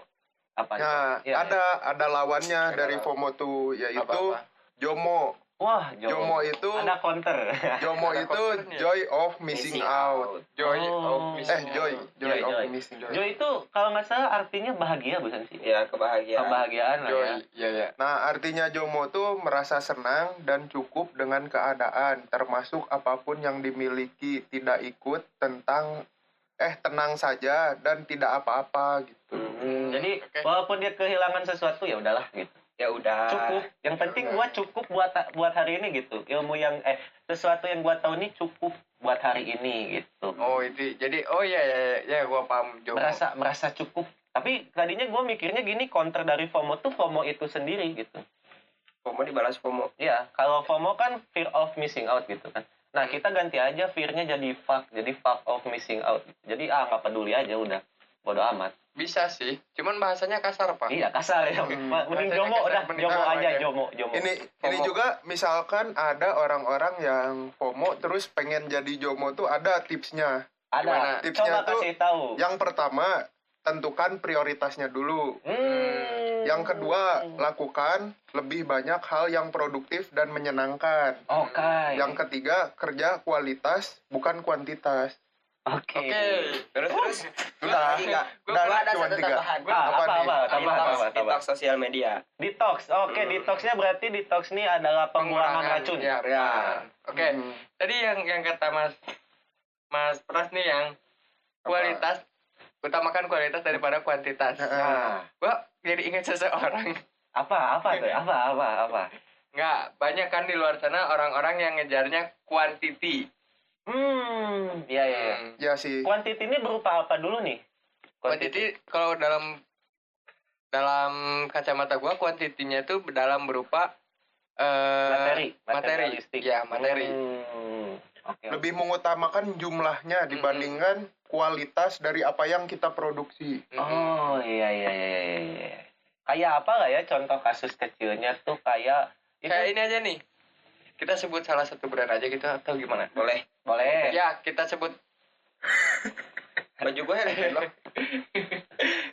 Speaker 5: apa
Speaker 8: Nah,
Speaker 5: Iya,
Speaker 8: ada ada lawannya
Speaker 6: Ya, Ada
Speaker 8: dari
Speaker 6: lawan.
Speaker 8: FOMO tuh yaitu
Speaker 6: Apa-apa?
Speaker 8: JOMO.
Speaker 5: wah
Speaker 8: JOMO
Speaker 5: jauh
Speaker 8: itu
Speaker 5: ada counter
Speaker 8: JOMO
Speaker 6: Ada
Speaker 8: itu
Speaker 6: kontennya.
Speaker 8: joy of missing out.
Speaker 6: Joy of
Speaker 5: Oh.
Speaker 6: missing
Speaker 8: Eh, joy,
Speaker 6: out.
Speaker 8: joy,
Speaker 5: Joy,
Speaker 8: of
Speaker 5: joy.
Speaker 8: missing out.
Speaker 5: Jo itu kalau nggak salah artinya bahagia bukan sih?
Speaker 7: Ya, kebahagiaan.
Speaker 5: Kebahagiaan lah
Speaker 6: Joy,
Speaker 5: ya.
Speaker 6: iya ya.
Speaker 8: Nah, artinya JOMO tuh merasa senang dan cukup dengan keadaan, termasuk apapun yang dimiliki, tidak ikut tentang eh tenang saja dan tidak apa-apa gitu.
Speaker 7: Mm-hmm.
Speaker 5: Jadi
Speaker 6: Iya. oke. Ah.
Speaker 5: walaupun dia kehilangan sesuatu ya udahlah gitu.
Speaker 7: ya udah.
Speaker 5: Cukup. Yang penting
Speaker 6: Iya.
Speaker 5: gua cukup buat buat hari ini gitu. Ilmu yang eh sesuatu yang gua tahu ini cukup buat hari ini gitu.
Speaker 6: Oh, itu. Jadi, oh iya, iya, iya, ya, gua paham Jomo.
Speaker 5: Merasa merasa cukup. Tapi tadinya gua mikirnya gini counter dari FOMO tuh FOMO itu sendiri gitu.
Speaker 7: FOMO dibalas FOMO.
Speaker 5: Iya, kalau FOMO kan fear of missing out gitu kan. Nah, kita ganti aja fear-nya jadi fuck, jadi fuck of missing out. Jadi ah nggak peduli aja udah. Bodoh amat.
Speaker 6: Bisa sih, cuman bahasanya kasar, Pak.
Speaker 5: Iya, kasar ya. Ma- Mending
Speaker 6: Bahasanya
Speaker 5: jomo
Speaker 6: kasar,
Speaker 5: udah,
Speaker 6: mending
Speaker 5: jomo
Speaker 6: jomo
Speaker 5: aja,
Speaker 6: aja.
Speaker 5: jomo, jomo.
Speaker 8: Ini ini
Speaker 5: FOMO.
Speaker 8: juga misalkan ada orang-orang yang FOMO terus pengen jadi JOMO tuh ada tipsnya.
Speaker 5: ada.
Speaker 6: gimana?
Speaker 5: Coba
Speaker 8: Tipsnya tuh
Speaker 5: kasih tahu.
Speaker 8: yang pertama tentukan prioritasnya dulu.
Speaker 5: Hmm.
Speaker 8: Yang kedua, lakukan lebih banyak hal yang produktif dan menyenangkan.
Speaker 5: Oke.
Speaker 8: Yang ketiga, kerja kualitas bukan kuantitas.
Speaker 5: Oke.
Speaker 6: Oke.
Speaker 7: Terus terus.
Speaker 8: Sudah.
Speaker 7: Lagi nggak?
Speaker 8: Gua
Speaker 7: Gua ada
Speaker 8: cuma
Speaker 7: satu
Speaker 8: tiga.
Speaker 7: tambahan.
Speaker 5: Ah,
Speaker 8: apa
Speaker 5: apa apa
Speaker 8: nih?
Speaker 5: tambah
Speaker 7: Detox,
Speaker 5: tambah tambah.
Speaker 7: detox sosial media.
Speaker 5: Detox. Oke, detoxnya berarti detox ini adalah pengurangan racun.
Speaker 6: Hmm. Ya,
Speaker 7: Ya. Hmm.
Speaker 6: Oke. Tadi yang yang kata Mas Mas Pras nih yang kualitas utamakan kualitas daripada kuantitas.
Speaker 5: Nah,
Speaker 6: Gua jadi ingat seseorang.
Speaker 5: apa apa tuh? Apa apa apa?
Speaker 6: Nggak, banyak kan di luar sana orang-orang yang ngejarnya quantity.
Speaker 5: Hmm, iya iya. iya.
Speaker 6: Hmm.
Speaker 8: Ya sih.
Speaker 5: Quantity ini berupa apa dulu nih?
Speaker 6: Quantity kalau dalam dalam kacamata gua kuantitinya itu dalam berupa eh
Speaker 5: Materi,
Speaker 6: materi.
Speaker 5: materialistik.
Speaker 6: Ya, materi.
Speaker 5: Hmm, Oke. oke.
Speaker 8: Lebih mengutamakan jumlahnya dibandingkan kualitas dari apa yang kita produksi.
Speaker 6: Mm-mm.
Speaker 5: Oh iya iya iya iya. iya. Kayak apa lah ya contoh kasus kecilnya tuh kayak itu
Speaker 6: Kayak ini aja nih. Kita sebut salah satu brand aja gitu atau gimana?
Speaker 7: Boleh.
Speaker 5: boleh
Speaker 6: Ya, kita sebut
Speaker 7: Baju gue ya loh.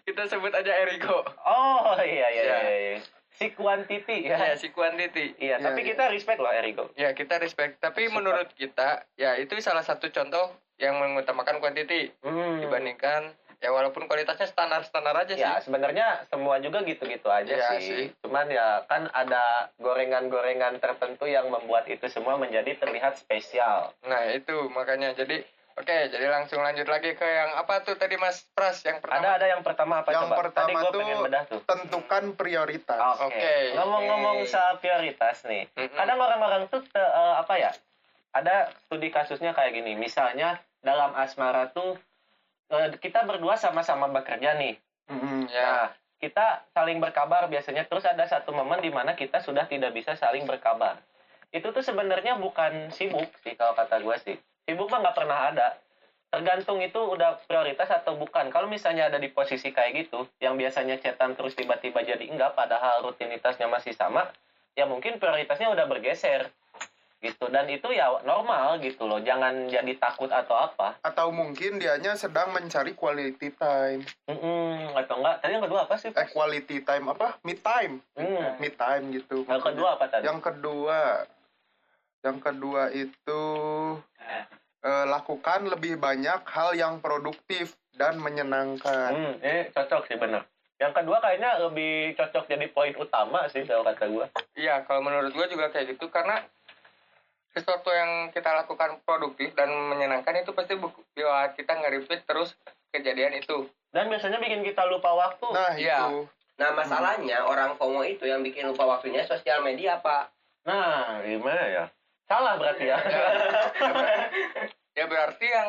Speaker 6: kita sebut aja Eriko.
Speaker 5: Oh iya iya
Speaker 6: Ya.
Speaker 5: iya. iya. Si quantity
Speaker 7: Iya.
Speaker 5: ya.
Speaker 6: Ya, si quantity.
Speaker 5: Iya,
Speaker 8: Ya,
Speaker 5: tapi
Speaker 8: ya.
Speaker 5: kita respect loh Eriko.
Speaker 6: Ya, kita respect. Tapi menurut kita, ya itu salah satu contoh yang mengutamakan quantity
Speaker 5: Hmm.
Speaker 6: dibandingkan ya walaupun kualitasnya standar-standar aja sih.
Speaker 5: Ya, sebenarnya semua juga gitu-gitu aja
Speaker 6: Ya,
Speaker 5: sih.
Speaker 6: sih.
Speaker 5: Cuman ya kan ada gorengan-gorengan tertentu yang membuat itu semua menjadi terlihat spesial.
Speaker 6: Nah, itu makanya jadi oke, jadi langsung lanjut lagi ke yang apa tuh tadi Mas Pras yang pertama.
Speaker 5: Ada ada yang pertama apa
Speaker 8: Yang
Speaker 5: coba? Tadi
Speaker 8: pertama
Speaker 5: gua
Speaker 8: tuh-
Speaker 5: pengen bedah tuh.
Speaker 8: Tentukan prioritas.
Speaker 5: Oke.
Speaker 6: Oke.
Speaker 5: Ngomong-ngomong
Speaker 7: Oke.
Speaker 5: soal prioritas nih.
Speaker 6: Mm-mm.
Speaker 5: Kadang orang-orang tuh te- eh, apa ya? Ada studi kasusnya kayak gini. Misalnya dalam asmara tuh eh, kita berdua sama-sama bekerja nih.
Speaker 8: Mm-mm.
Speaker 6: ya.
Speaker 5: Nah, kita saling berkabar biasanya terus ada satu momen di mana kita sudah tidak bisa saling berkabar. Itu tuh sebenarnya bukan sibuk sih kalau kata gue sih. Sibuk mah nggak pernah ada. Tergantung itu udah prioritas atau bukan. Kalau misalnya ada di posisi kayak gitu, yang biasanya cetan terus tiba-tiba jadi enggak, padahal rutinitasnya masih sama, ya mungkin prioritasnya udah bergeser gitu dan itu ya normal gitu loh jangan jadi takut atau apa
Speaker 8: Atau mungkin dianya sedang mencari quality time.
Speaker 5: Mm-mm, atau enggak tadi yang kedua apa sih
Speaker 8: Eh, quality time apa? Me time.
Speaker 5: Hmm.
Speaker 8: Me time gitu.
Speaker 5: yang kedua apa tadi
Speaker 8: Yang kedua, yang kedua itu eh, lakukan lebih banyak hal yang produktif dan menyenangkan.
Speaker 5: Hmm, ini cocok sih bener. Yang kedua kayaknya lebih cocok jadi poin utama sih kalau kata gue.
Speaker 6: Iya, kalau menurut gua juga kayak gitu karena sesuatu yang kita lakukan produktif dan menyenangkan itu pasti bu- ya, kita nge-repeat terus kejadian itu.
Speaker 5: Dan biasanya bikin kita lupa waktu.
Speaker 8: Nah,
Speaker 6: Iya.
Speaker 8: itu.
Speaker 7: Nah masalahnya
Speaker 6: Hmm.
Speaker 7: orang FOMO itu yang bikin lupa waktunya sosial media pak.
Speaker 5: Nah, gimana ya? Salah berarti ya.
Speaker 6: Ya berarti yang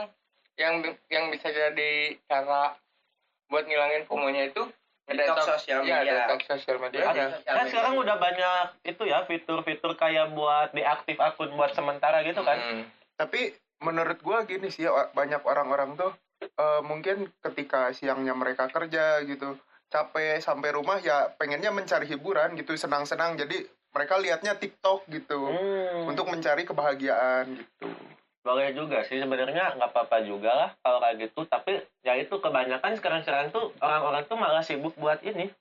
Speaker 6: yang yang bisa jadi cara buat ngilangin FOMO-nya itu
Speaker 7: Detox sosial
Speaker 6: Iya,
Speaker 7: media.
Speaker 6: detox sosial media.
Speaker 7: Jadi sosial
Speaker 5: kan
Speaker 7: media.
Speaker 5: sekarang udah banyak itu ya fitur-fitur kayak buat deaktif akun buat sementara gitu kan.
Speaker 6: Hmm.
Speaker 8: tapi menurut gua gini sih o- banyak orang-orang tuh eh, mungkin ketika siangnya mereka kerja gitu capek sampai rumah ya pengennya mencari hiburan gitu senang-senang jadi mereka liatnya TikTok gitu
Speaker 5: Hmm.
Speaker 8: untuk mencari kebahagiaan gitu
Speaker 5: boleh juga sih sebenarnya nggak apa-apa juga lah kalau kayak gitu tapi ya itu kebanyakan sekarang-sekarang tuh orang-orang tuh malah sibuk buat ini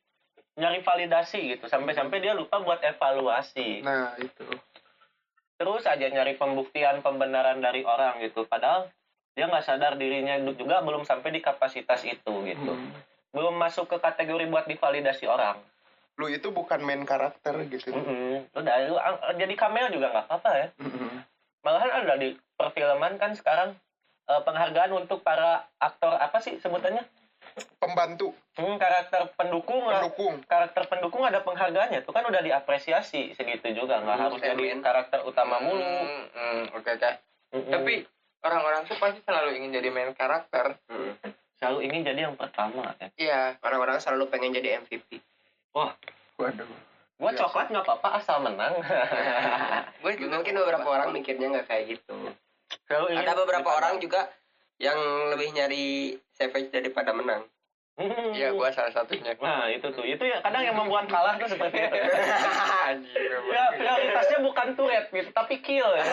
Speaker 5: nyari validasi gitu sampai-sampai dia lupa buat evaluasi
Speaker 8: nah itu
Speaker 5: terus aja nyari pembuktian pembenaran dari orang gitu padahal dia nggak sadar dirinya juga belum sampai di kapasitas itu gitu
Speaker 8: Hmm.
Speaker 5: belum masuk ke kategori buat divalidasi orang
Speaker 8: lu itu bukan main karakter gitu
Speaker 5: Mm-mm. udah lu ang- jadi cameo juga nggak apa-apa ya
Speaker 8: Mm-mm.
Speaker 5: malahan ada di perfilman kan sekarang eh, penghargaan untuk para aktor apa sih sebutannya
Speaker 8: pembantu
Speaker 5: Hmm, karakter pendukung, lah.
Speaker 8: pendukung
Speaker 5: karakter pendukung ada penghargaannya tuh kan udah diapresiasi segitu juga nggak
Speaker 7: Hmm,
Speaker 5: harus jadi
Speaker 7: keren.
Speaker 5: karakter utama mulu.
Speaker 6: Hmm, hmm, oke oke.
Speaker 8: Mm.
Speaker 5: Mm-mm.
Speaker 6: Tapi orang-orang tuh pasti selalu ingin jadi main karakter.
Speaker 7: Hmm.
Speaker 5: selalu ingin jadi yang pertama. Ya.
Speaker 6: Iya.
Speaker 7: Orang-orang selalu pengen jadi MVP.
Speaker 8: waduh
Speaker 5: Gua
Speaker 8: Iya.
Speaker 5: coklat nggak apa-apa asal menang.
Speaker 6: Gue juga
Speaker 7: Mungkin beberapa orang mikirnya nggak kayak gitu.
Speaker 5: selalu ingin
Speaker 7: Ada beberapa
Speaker 5: dipandang.
Speaker 7: orang juga yang lebih nyari savage daripada menang.
Speaker 5: Hmm.
Speaker 6: Iya, gue salah satunya.
Speaker 5: Nah itu tuh itu ya kadang yang membuat kalah tuh seperti itu. ya prioritasnya bukan turret gitu tapi kill. ya.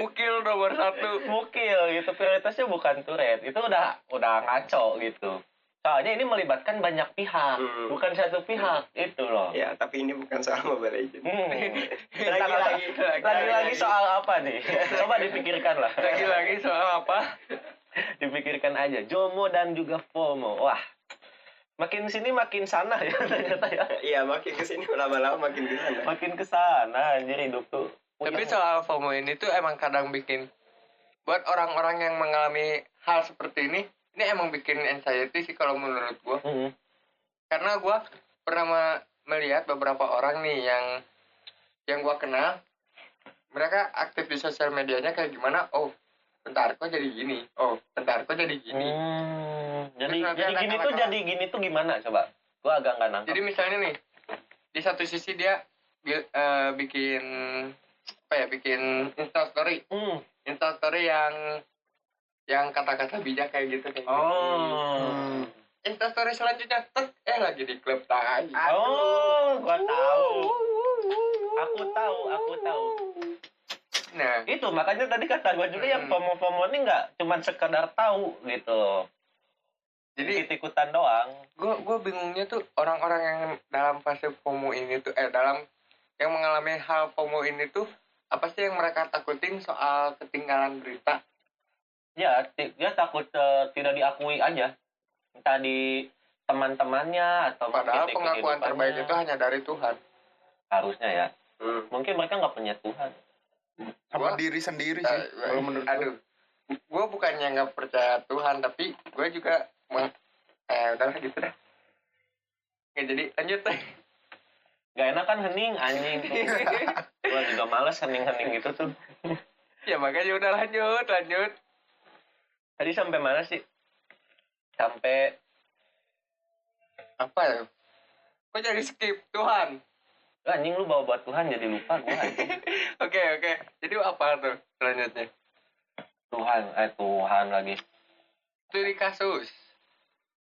Speaker 6: Mukil nomor satu.
Speaker 5: Mukil gitu prioritasnya bukan turret itu udah udah ngaco gitu. Soalnya ini melibatkan banyak pihak
Speaker 7: Hmm.
Speaker 5: bukan satu pihak itu loh.
Speaker 7: Ya, tapi ini bukan soal Mobile Legends.
Speaker 5: Hmm.
Speaker 7: Lagi-lagi,
Speaker 5: Lagi-lagi soal apa nih? Coba dipikirkan lah.
Speaker 6: Lagi-lagi soal apa?
Speaker 5: Dipikirkan aja. Jomo dan juga FOMO. Wah. Makin sini makin sana ya ternyata ya.
Speaker 7: Iya, makin kesini lama-lama makin kesana.
Speaker 5: Makin kesana anjir hidup tuh.
Speaker 6: Tapi soal FOMO ini tuh emang kadang bikin buat orang-orang yang mengalami hal seperti ini, ini emang bikin anxiety sih kalau menurut gue.
Speaker 5: Hmm.
Speaker 6: Karena gue pernah me- melihat beberapa orang nih yang yang gue kenal, mereka aktif di sosial medianya kayak gimana? Oh, bentar kok jadi gini. Oh, bentar kok jadi gini.
Speaker 5: Hmm. Jadi
Speaker 6: Terus nanti
Speaker 5: jadi
Speaker 6: anak-
Speaker 5: gini tuh
Speaker 6: anak-anak-
Speaker 5: jadi gini tuh gimana coba? Gua agak nggak nangkep.
Speaker 6: Jadi misalnya nih, di satu sisi dia bi- eh, bikin apa ya? Bikin instastory.
Speaker 5: Hmm.
Speaker 6: instastory yang yang kata-kata bijak kayak gitu
Speaker 5: Hmm.
Speaker 6: kayak gitu.
Speaker 5: Oh.
Speaker 6: instastory selanjutnya tek eh lagi di klub tai
Speaker 5: Oh, gua tahu. Aku tahu, aku tahu.
Speaker 6: nah
Speaker 5: itu makanya tadi kata gue juga yang
Speaker 6: Hmm.
Speaker 5: FOMO-FOMO ini nggak cuman sekedar tahu gitu
Speaker 6: jadi
Speaker 5: ikut ikutan doang
Speaker 6: gue gue bingungnya tuh orang-orang yang dalam fase FOMO ini tuh eh dalam yang mengalami hal FOMO ini tuh apa sih yang mereka takutin soal ketinggalan berita
Speaker 5: ya ti- dia takut eh, tidak diakui aja entah di teman-temannya atau
Speaker 6: padahal
Speaker 5: mungkin di
Speaker 6: pengakuan
Speaker 5: kehidupannya.
Speaker 6: terbaik itu hanya dari Tuhan
Speaker 5: harusnya ya
Speaker 7: Hmm.
Speaker 5: mungkin mereka nggak punya Tuhan
Speaker 8: sama
Speaker 6: Gua-
Speaker 8: diri sendiri sih kalau menurut gua.
Speaker 6: aduh gue bukannya nggak percaya Tuhan tapi gue juga meng- eh udah gitu dah Oke, jadi lanjut deh
Speaker 5: nggak enak kan hening anjing gue juga males hening-hening gitu tuh
Speaker 6: ya makanya udah lanjut lanjut
Speaker 5: tadi sampai mana sih sampai
Speaker 6: apa ya kok jadi skip Tuhan
Speaker 5: "Lah, anjing lu bawa buat Tuhan jadi lupa gue
Speaker 6: oke oke jadi apa tuh selanjutnya
Speaker 5: Tuhan eh Tuhan lagi
Speaker 6: studi kasus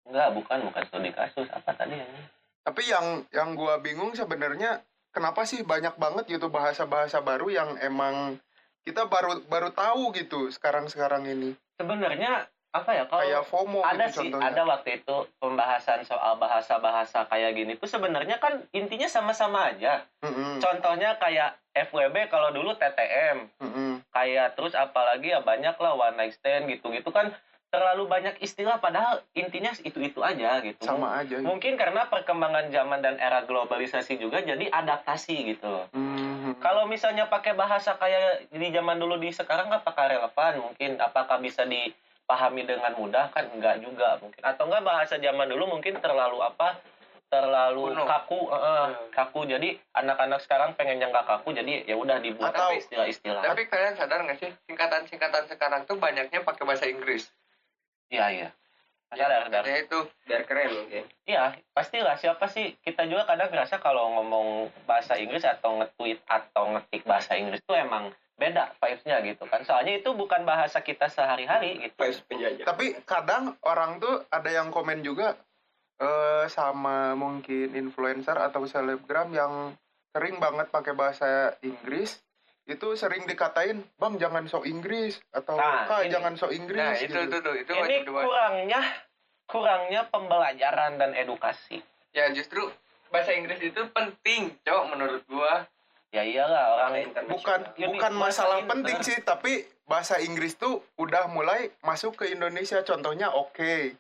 Speaker 5: enggak bukan bukan studi kasus apa tadi
Speaker 7: ya.
Speaker 5: anjing
Speaker 8: tapi yang yang gua bingung sebenarnya kenapa sih banyak banget gitu bahasa-bahasa baru yang emang kita baru baru tahu gitu sekarang-sekarang ini
Speaker 5: sebenarnya apa ya kalau
Speaker 8: kayak FOMO
Speaker 5: ada
Speaker 8: gitu
Speaker 5: sih
Speaker 8: contohnya.
Speaker 5: ada waktu itu pembahasan soal bahasa-bahasa kayak gini tuh sebenarnya kan intinya sama-sama aja
Speaker 8: Mm-mm,
Speaker 5: contohnya kayak FWB kalau dulu TTM
Speaker 8: mm-mm.
Speaker 5: kayak terus apalagi ya banyak lah one night stand gitu-gitu kan terlalu banyak istilah padahal intinya itu-itu aja gitu
Speaker 8: sama aja. gitu.
Speaker 5: mungkin karena perkembangan zaman dan era globalisasi juga jadi adaptasi gitu loh
Speaker 8: Mm-mm.
Speaker 5: kalau misalnya pakai bahasa kayak di zaman dulu di sekarang apakah relevan mungkin apakah bisa di pahami dengan mudah kan enggak juga mungkin atau enggak bahasa zaman dulu mungkin terlalu apa terlalu
Speaker 6: Kuno. Hmm.
Speaker 5: kaku eh, eh, kaku jadi anak-anak sekarang pengen yang nggak kaku jadi ya udah dibuat
Speaker 6: Atau-
Speaker 5: istilah-istilah
Speaker 6: Tapi kalian sadar nggak sih singkatan-singkatan sekarang tuh banyaknya pakai bahasa Inggris.
Speaker 5: iya iya sadar sadar
Speaker 6: Ya itu
Speaker 7: biar keren mungkin
Speaker 5: Iya, pastilah. Siapa sih? Kita juga kadang ngerasa kalau ngomong bahasa Inggris atau nge-tweet atau ngetik bahasa Inggris itu emang beda vibes-nya gitu kan. Soalnya itu bukan bahasa kita sehari-hari gitu.
Speaker 7: vibes penjajah
Speaker 8: tapi kadang orang tuh ada yang komen juga eh sama mungkin influencer atau selebgram yang sering banget pakai bahasa Inggris itu sering dikatain bang jangan sok Inggris atau
Speaker 5: Nah,
Speaker 8: kak
Speaker 5: ini.
Speaker 8: jangan sok Inggris
Speaker 6: Nah, itu
Speaker 8: gitu.
Speaker 6: itu tuh itu
Speaker 5: Ini
Speaker 6: wajib dua.
Speaker 5: kurangnya kurangnya pembelajaran dan edukasi.
Speaker 6: Ya justru bahasa Inggris itu penting, Cok, menurut gua.
Speaker 5: Ya iyalah orang
Speaker 8: bukan
Speaker 5: Ya, ini
Speaker 8: bukan
Speaker 5: bahasa
Speaker 8: masalah
Speaker 5: Inter.
Speaker 8: penting sih tapi bahasa Inggris tuh udah mulai masuk ke Indonesia contohnya oke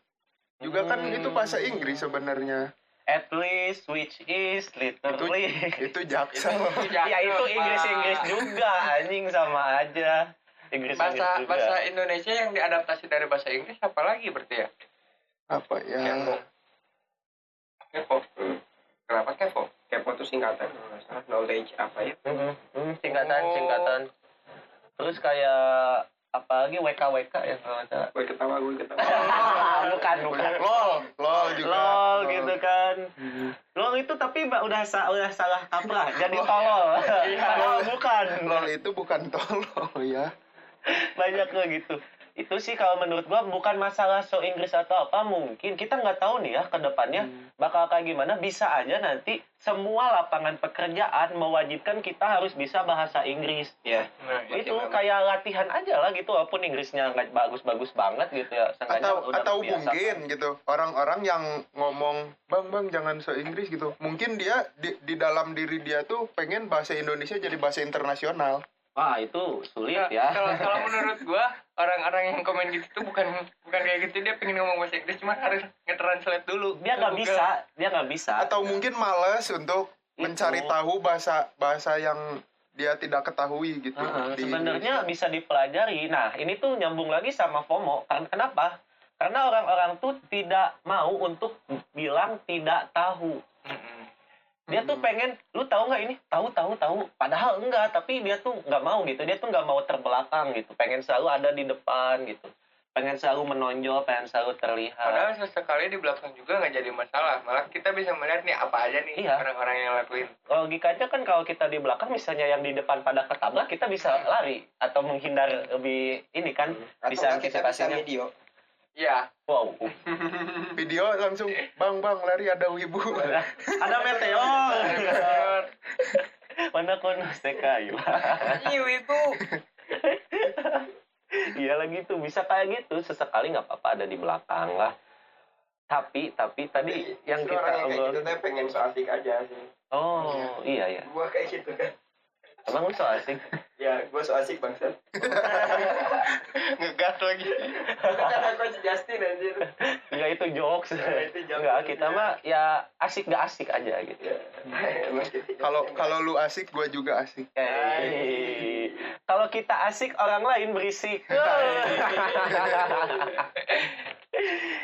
Speaker 8: juga kan
Speaker 5: Hmm.
Speaker 8: itu bahasa Inggris sebenarnya
Speaker 5: at least which is literally.
Speaker 8: itu
Speaker 6: Itu,
Speaker 8: jaksa
Speaker 6: itu
Speaker 5: ya itu Inggris-Inggris juga anjing sama aja. Inggris-Inggris
Speaker 6: Bahasa
Speaker 5: juga.
Speaker 6: bahasa
Speaker 7: Iya.
Speaker 6: Indonesia yang diadaptasi dari bahasa Inggris apalagi berarti ya?
Speaker 8: apa ya
Speaker 5: Iya.
Speaker 6: Kepo.
Speaker 7: kepo
Speaker 6: Kenapa kepo?
Speaker 7: kepo itu singkatan kalau nggak salah knowledge apa ya
Speaker 6: Mm-hmm.
Speaker 7: Oh.
Speaker 5: Mm-mm. Mm, singkatan singkatan terus kayak apalagi WKWK ya kalau nggak salah
Speaker 7: gue ketawa gue ketawa
Speaker 5: Ah, bukan bukan
Speaker 8: lol lol juga
Speaker 5: lol gitu kan lol itu tapi ba- udah sa- udah salah kaprah jadi tolol Padahal bukan
Speaker 8: lol itu bukan tolol ya
Speaker 5: banyak loh gitu itu sih kalau menurut gua bukan masalah so Inggris atau apa mungkin kita nggak tahu nih ya ke depannya
Speaker 6: Hmm.
Speaker 5: bakal kayak gimana bisa aja nanti semua lapangan pekerjaan mewajibkan kita harus bisa bahasa Inggris
Speaker 8: Iya.
Speaker 5: ya
Speaker 6: Nah,
Speaker 5: itu kayak latihan aja lah gitu walaupun Inggrisnya nggak bagus-bagus banget gitu ya seenggaknya
Speaker 8: atau
Speaker 5: udah
Speaker 8: atau
Speaker 5: kebiasaan.
Speaker 8: mungkin gitu orang-orang yang ngomong bang bang jangan so Inggris gitu mungkin dia di, di dalam diri dia tuh pengen bahasa Indonesia jadi bahasa internasional
Speaker 5: wah itu sulit
Speaker 6: Nah,
Speaker 5: ya
Speaker 6: Kalau kalau menurut gua orang-orang yang komen gitu tuh bukan bukan kayak gitu dia pengen ngomong bahasa Inggris cuma harus nge-translate dulu.
Speaker 5: dia nggak
Speaker 6: Google.
Speaker 5: bisa dia nggak bisa
Speaker 8: atau
Speaker 6: Iya.
Speaker 8: mungkin males untuk
Speaker 5: Itu.
Speaker 8: mencari tahu bahasa bahasa yang dia tidak ketahui gitu
Speaker 5: Heeh,
Speaker 8: di-
Speaker 5: sebenarnya bisa dipelajari nah ini tuh nyambung lagi sama FOMO Karena- kenapa karena orang-orang tuh tidak mau untuk bilang tidak tahu
Speaker 6: Mm-mm.
Speaker 5: dia tuh pengen lu tahu nggak ini tahu tahu tahu padahal enggak tapi dia tuh nggak mau gitu dia tuh nggak mau terbelakang gitu pengen selalu ada di depan gitu pengen selalu menonjol pengen selalu terlihat
Speaker 6: Padahal sesekali di belakang juga nggak jadi masalah. Malah kita bisa melihat nih apa aja nih
Speaker 5: Iya.
Speaker 6: orang-orang yang lakuin.
Speaker 5: logikanya kan kalau kita di belakang misalnya yang di depan pada ketabrak kita bisa lari atau menghindar lebih ini kan
Speaker 7: atau
Speaker 5: Bisa
Speaker 7: nggak kita bisa
Speaker 5: antisipasinya.
Speaker 7: video
Speaker 6: Iya.
Speaker 5: wow
Speaker 8: video langsung bang bang lari ada wibu
Speaker 6: Iya.
Speaker 5: ada meteor mana kono sekayu
Speaker 6: Iya itu.
Speaker 5: iya lagi tuh bisa kayak gitu sesekali nggak apa-apa ada di belakang lah tapi tapi tadi yang
Speaker 7: Justru
Speaker 5: kita
Speaker 7: orang yang kayak gitu
Speaker 5: obrol
Speaker 7: tuh pengen so asik aja sih
Speaker 5: oh iya iya
Speaker 7: gue kayak gitu kan
Speaker 5: emang lu so asik
Speaker 7: ya gue so asik bangsa
Speaker 6: Ngegas lagi.
Speaker 7: itu kata coach Justin anjir
Speaker 5: nggak itu jokes
Speaker 7: Nggak, itu jokes.
Speaker 5: nggak kita mah ya asik nggak asik aja gitu
Speaker 7: Ya, emang gitu.
Speaker 8: kalau kalau lu asik gua juga asik
Speaker 7: Eh, Iya.
Speaker 5: Hei. Kalau kita asik, orang lain berisik.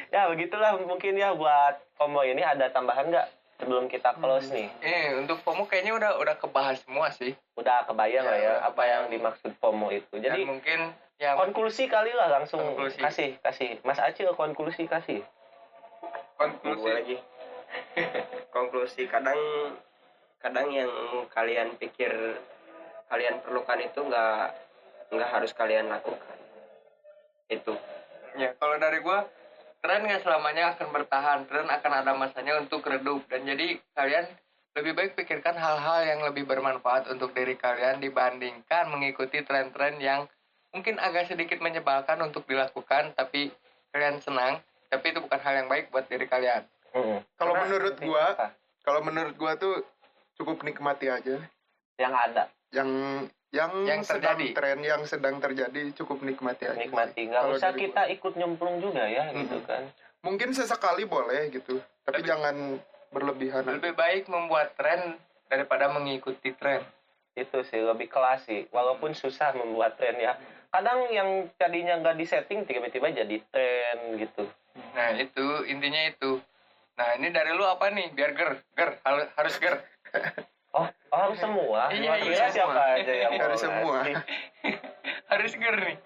Speaker 5: ya begitulah mungkin ya buat combo ini ada tambahan nggak sebelum kita close
Speaker 7: Hmm.
Speaker 5: nih?
Speaker 6: Eh untuk FOMO kayaknya udah udah kebahas semua sih.
Speaker 5: Udah kebayang
Speaker 7: Iya.
Speaker 5: lah ya apa yang dimaksud pomo itu.
Speaker 6: Dan
Speaker 5: Jadi oh,
Speaker 6: mungkin ya
Speaker 5: konklusi kali lah langsung
Speaker 6: Konklusi.
Speaker 5: kasih kasih Mas Acil konklusi kasih.
Speaker 7: Gue
Speaker 6: konklusi.
Speaker 7: lagi konklusi kadang kadang yang kalian pikir kalian perlukan itu nggak nggak harus kalian lakukan itu
Speaker 6: Ya kalau dari gua tren nggak selamanya akan bertahan. Tren akan ada masanya untuk redup dan jadi kalian lebih baik pikirkan hal-hal yang lebih bermanfaat untuk diri kalian dibandingkan mengikuti tren-tren yang mungkin agak sedikit menyebalkan untuk dilakukan tapi kalian senang tapi itu bukan hal yang baik buat diri kalian
Speaker 8: kalau
Speaker 5: Karena-
Speaker 8: menurut gua
Speaker 5: Apa?
Speaker 8: kalau menurut gua tuh cukup nikmati aja
Speaker 5: yang ada
Speaker 8: yang yang,
Speaker 6: Yang
Speaker 8: sedang
Speaker 6: terjadi.
Speaker 8: tren yang sedang terjadi cukup nikmati aja
Speaker 5: nikmati nggak
Speaker 8: Kalau
Speaker 5: usah
Speaker 8: dari Hmm.
Speaker 5: kita ikut nyemplung juga ya gitu
Speaker 8: Mm-mm.
Speaker 5: kan.
Speaker 8: mungkin sesekali boleh gitu tapi
Speaker 6: Tapi-
Speaker 8: jangan berlebihan
Speaker 6: lebih baik membuat tren daripada mengikuti tren
Speaker 5: itu sih lebih kelas sih
Speaker 8: Hmm.
Speaker 5: walaupun susah membuat tren ya kadang yang tadinya nggak disetting tiba-tiba jadi tren gitu
Speaker 6: Nah itu intinya itu. Nah ini dari lu apa nih? Biar ger, ger, hal- harus ger.
Speaker 5: oh, oh harus semua
Speaker 6: Iya,
Speaker 5: Luar
Speaker 6: iya,
Speaker 5: biasa
Speaker 6: semua.
Speaker 5: siapa aja yang mau
Speaker 8: Harus semua.
Speaker 5: ngasih.
Speaker 6: harus ger nih.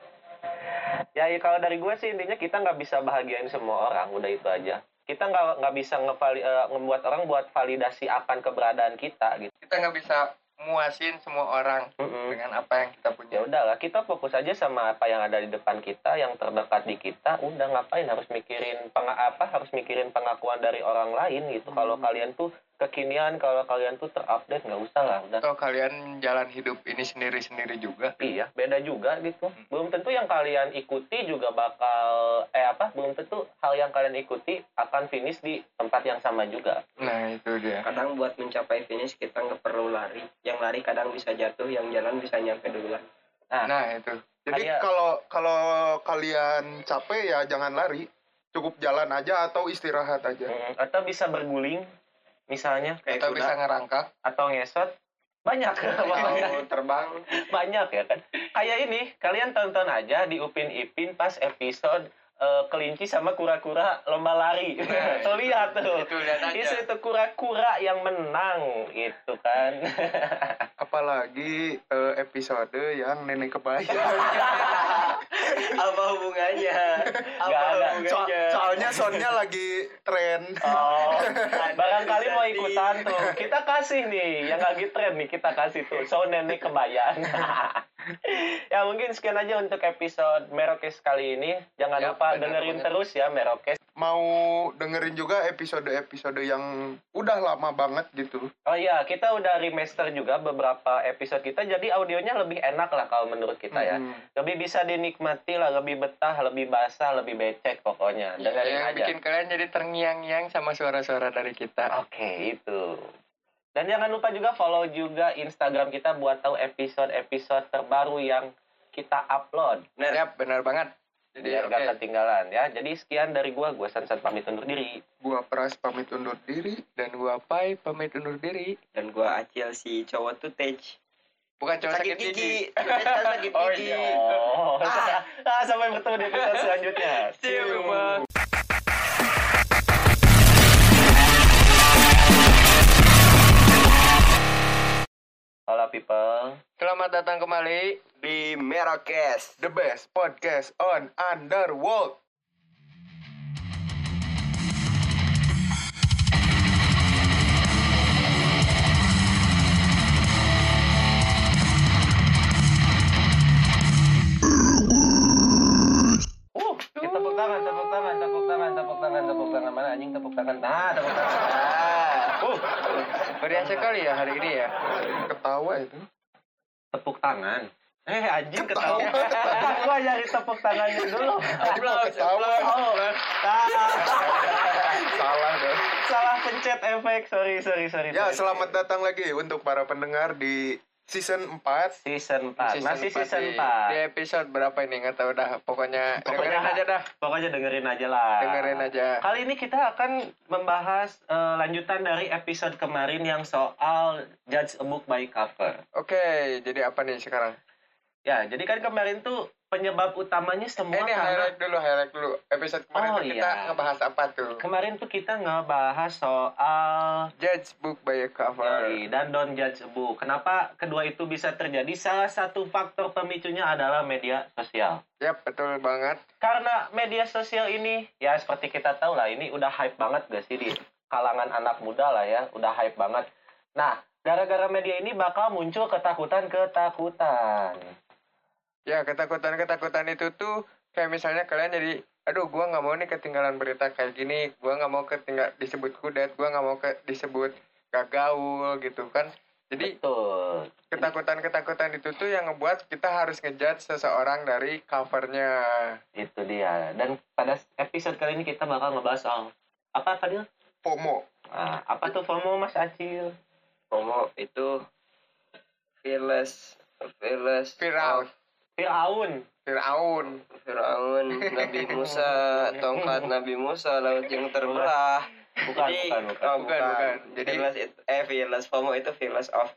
Speaker 5: ya ya, kalau dari gue sih intinya kita nggak bisa bahagiain semua orang udah itu aja kita nggak nggak bisa ngevali, eh, ngebuat orang buat validasi akan keberadaan kita gitu
Speaker 6: Kita nggak bisa muasin semua orang
Speaker 5: Mm-mm.
Speaker 6: dengan apa yang kita punya.
Speaker 5: ya udahlah kita fokus aja sama apa yang ada di depan kita yang terdekat di kita udah ngapain harus mikirin peng apa harus mikirin pengakuan dari orang lain gitu kalau kalian tuh kekinian kalau kalian tuh terupdate nggak usah lah udah
Speaker 6: Atau kalian jalan hidup ini sendiri-sendiri juga.
Speaker 5: iya beda juga gitu
Speaker 6: Hmm.
Speaker 5: belum tentu yang kalian ikuti juga bakal eh apa belum tentu hal yang kalian ikuti akan finish di tempat yang sama juga
Speaker 6: Nah itu dia.
Speaker 7: kadang buat mencapai finish kita nggak perlu lari yang lari kadang bisa jatuh yang jalan bisa nyampe duluan
Speaker 6: Nah itu.
Speaker 8: Jadi
Speaker 5: Kayak-
Speaker 8: kalau kalau kalian capek ya jangan lari, cukup jalan aja atau istirahat aja.
Speaker 5: Mm, atau bisa berguling misalnya
Speaker 7: kayak
Speaker 6: Kita bisa
Speaker 7: kuda
Speaker 6: ngerangkak.
Speaker 5: atau ngesot banyak
Speaker 7: mau terbang
Speaker 5: banyak ya kan kayak ini kalian tonton aja di Upin Ipin pas episode eh, kelinci sama kura-kura lomba lari
Speaker 6: Nah,
Speaker 5: tuh lihat
Speaker 7: Oh.
Speaker 5: tuh
Speaker 6: Itu lihat
Speaker 5: di
Speaker 6: aja.
Speaker 5: situ kura-kura yang menang gitu kan
Speaker 8: Apalagi eh, episode yang nenek kebayang.
Speaker 7: apa hubungannya apa
Speaker 5: Nggak ada.
Speaker 8: So-
Speaker 7: hubungannya
Speaker 8: soalnya soundnya lagi tren.
Speaker 5: oh
Speaker 7: Ada
Speaker 5: barangkali mau
Speaker 7: jadi.
Speaker 5: ikutan tuh kita kasih nih yang lagi tren nih kita kasih tuh so nenek kebayang ya mungkin sekian aja untuk episode Merokes kali ini jangan
Speaker 6: Ya,
Speaker 5: lupa
Speaker 6: benar
Speaker 5: dengerin
Speaker 6: banget.
Speaker 5: terus ya Merokes
Speaker 8: Mau dengerin juga episode-episode yang udah lama banget gitu.
Speaker 5: Oh iya, kita udah remaster juga beberapa episode kita, jadi audionya lebih enak lah kalau menurut kita ya.
Speaker 8: Hmm.
Speaker 5: Lebih bisa dinikmati lah, lebih betah, lebih basah, lebih becek pokoknya. Dengerin
Speaker 6: Iya, Yang
Speaker 5: aja.
Speaker 6: bikin kalian jadi terngiang-ngiang sama suara-suara dari kita.
Speaker 5: Oke, itu. Dan jangan lupa juga follow juga Instagram kita buat tahu episode-episode terbaru yang kita upload.
Speaker 6: Yap, benar banget. Jadi
Speaker 5: Biar
Speaker 6: oke.
Speaker 5: gak ketinggalan ya. Jadi sekian dari gua, gua Sansan pamit undur diri.
Speaker 8: Gua Pras pamit undur diri.
Speaker 6: Dan gua Pai pamit undur diri.
Speaker 7: dan gua acil si cowok tuh tej
Speaker 6: Bukan cowok sakit, gigi.
Speaker 7: Tej kan sakit
Speaker 5: Oh,
Speaker 7: gigi
Speaker 5: iya. Oh, ah, sampai bertemu di episode selanjutnya.
Speaker 6: See you, everyone.
Speaker 5: Hola people.
Speaker 6: Selamat datang kembali.
Speaker 7: di merokes
Speaker 8: The best podcast on Underworld.
Speaker 5: Uh, kita tepuk tangan, tepuk tangan, tepuk tangan, tepuk tangan, tepuk tangan mana anjing tepuk tangan. Nah, tepuk tangan. Ah. Uh,
Speaker 6: Meriah sekali ya hari ini ya.
Speaker 8: Ketawa itu.
Speaker 5: tepuk tangan. Eh, anjing ketawa. Gua nyari tepuk tangannya dulu.
Speaker 8: Ketawa.
Speaker 5: Oh, nah,
Speaker 8: Salah deh.
Speaker 5: salah pencet efek. Sorry, sorry, sorry.
Speaker 8: Ya,
Speaker 5: sorry.
Speaker 8: selamat datang lagi untuk para pendengar di season 4.
Speaker 5: Season iya. 4. Nah, Masih
Speaker 6: empat
Speaker 5: season
Speaker 6: sih.
Speaker 5: 4.
Speaker 6: Di episode berapa ini nggak tahu dah. Pokoknya,
Speaker 5: Pokoknya- Ah.
Speaker 6: dengerin aja dah.
Speaker 5: Pokoknya dengerin aja lah.
Speaker 6: Dengerin aja.
Speaker 5: Kali ini kita akan membahas eh, lanjutan dari episode kemarin yang soal judge a book by cover.
Speaker 6: Oke, jadi apa nih sekarang?
Speaker 5: Ya, jadi kan kemarin tuh penyebab utamanya semua
Speaker 6: Eh, ini
Speaker 5: karena
Speaker 6: highlight dulu, highlight dulu. Episode kemarin
Speaker 5: Oh,
Speaker 6: tuh kita
Speaker 5: iya.
Speaker 6: ngebahas apa tuh?
Speaker 5: kemarin tuh kita ngebahas soal
Speaker 6: Judge book by a cover.
Speaker 5: Yoi, dan don't judge a book. Kenapa kedua itu bisa terjadi? Salah satu faktor pemicunya adalah media sosial.
Speaker 6: Yap, betul banget.
Speaker 5: Karena media sosial ini ya seperti kita tahu lah ini udah hype banget gak sih di kalangan anak muda lah ya, udah hype banget. Nah, gara-gara media ini bakal muncul ketakutan-ketakutan.
Speaker 6: Ya, ketakutan-ketakutan itu tuh kayak misalnya kalian jadi aduh gua nggak mau nih ketinggalan berita kayak gini gua nggak mau ketinggal disebut kudet gua nggak mau ke disebut gak gaul gitu kan jadi
Speaker 5: Betul.
Speaker 6: ketakutan-ketakutan itu tuh yang ngebuat kita harus ngejudge seseorang dari covernya.
Speaker 5: Itu dia. Dan pada episode kali ini kita bakal ngebahas soal apa Fadil?
Speaker 8: FOMO.
Speaker 5: Nah, apa tuh FOMO Mas Acil?
Speaker 7: Komo itu fearless fearless
Speaker 6: Firaun,
Speaker 5: Firaun.
Speaker 6: Firaun.
Speaker 7: Firaun, Nabi Musa, tongkat Nabi Musa, laut yang terbelah.
Speaker 5: Bukan, bukan, bukan.
Speaker 7: oh,
Speaker 6: Bukan, bukan. Jadi-
Speaker 7: Fearless it- eh fearless FOMO itu fearless of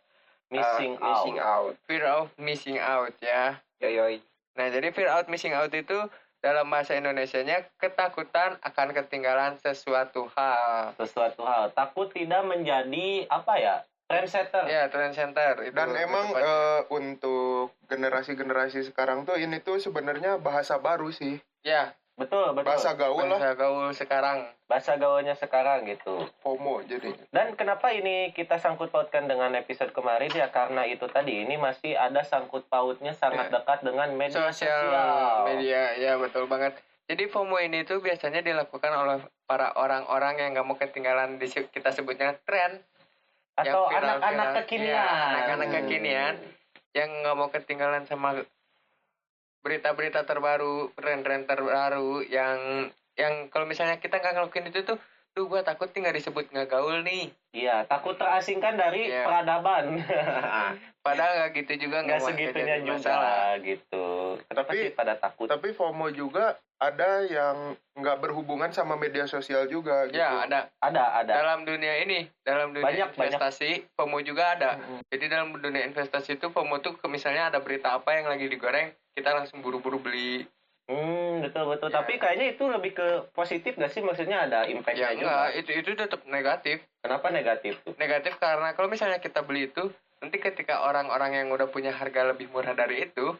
Speaker 5: Missing
Speaker 7: uh, missing
Speaker 5: out.
Speaker 7: out.
Speaker 6: Fear of missing out ya.
Speaker 7: Yoyoy.
Speaker 6: Nah, jadi fear out missing out itu dalam bahasa Indonesianya ketakutan akan ketinggalan sesuatu hal.
Speaker 5: Sesuatu hal. Takut tidak menjadi apa ya? Trendsetter.
Speaker 6: Ya, trend center. Itu
Speaker 8: Dan emang
Speaker 6: tepatnya.
Speaker 8: eh, untuk generasi-generasi sekarang tuh ini tuh sebenarnya bahasa baru sih.
Speaker 6: ya,
Speaker 5: Betul, betul.
Speaker 8: Bahasa eh, gaul lah,
Speaker 6: bahasa gaul sekarang.
Speaker 5: Bahasa gaulnya sekarang gitu.
Speaker 8: FOMO jadinya.
Speaker 5: Dan kenapa ini kita sangkut pautkan dengan episode kemarin ya karena itu tadi ini masih ada sangkut pautnya sangat dekat dengan media
Speaker 6: Eh, Sosial
Speaker 5: sosial.
Speaker 6: media, ya betul banget. Jadi FOMO ini tuh biasanya dilakukan oleh para orang-orang yang nggak mau ketinggalan di se- kita sebutnya tren yang
Speaker 5: atau
Speaker 6: viral-viral.
Speaker 5: anak-anak
Speaker 6: Iya,
Speaker 5: kekinian.
Speaker 6: anak-anak kekinian yang nggak mau ketinggalan sama berita-berita terbaru, tren-tren terbaru yang yang kalau misalnya kita nggak ngelakuin itu tuh, tuh gua takut tinggal disebut nggak gaul nih.
Speaker 5: Iya, takut terasingkan dari
Speaker 6: Iya.
Speaker 5: peradaban.
Speaker 6: Padahal nggak gitu juga
Speaker 5: Nggak
Speaker 6: mau
Speaker 5: segitunya
Speaker 6: jadi
Speaker 5: juga
Speaker 6: masalah.
Speaker 5: gitu. Kenapa
Speaker 8: Tapi-
Speaker 5: sih pada takut?
Speaker 8: Tapi FOMO juga ada yang nggak berhubungan sama media sosial juga gitu.
Speaker 6: Ya ada
Speaker 5: Ada, ada.
Speaker 6: dalam dunia ini, dalam dunia
Speaker 5: Banyak, banyak.
Speaker 6: investasi, FOMO juga ada. Jadi dalam dunia investasi itu FOMO tuh ke- misalnya ada berita apa yang lagi digoreng, kita langsung buru-buru beli.
Speaker 5: Hmm, betul betul.
Speaker 6: Iya.
Speaker 5: Tapi kayaknya itu lebih ke positif nggak sih? Maksudnya ada
Speaker 6: Ya
Speaker 5: impact-nya juga.
Speaker 6: enggak, itu itu tetap negatif.
Speaker 5: Kenapa negatif tuh?
Speaker 6: Negatif karena kalau misalnya kita beli itu, nanti ketika orang-orang yang udah punya harga lebih murah dari itu,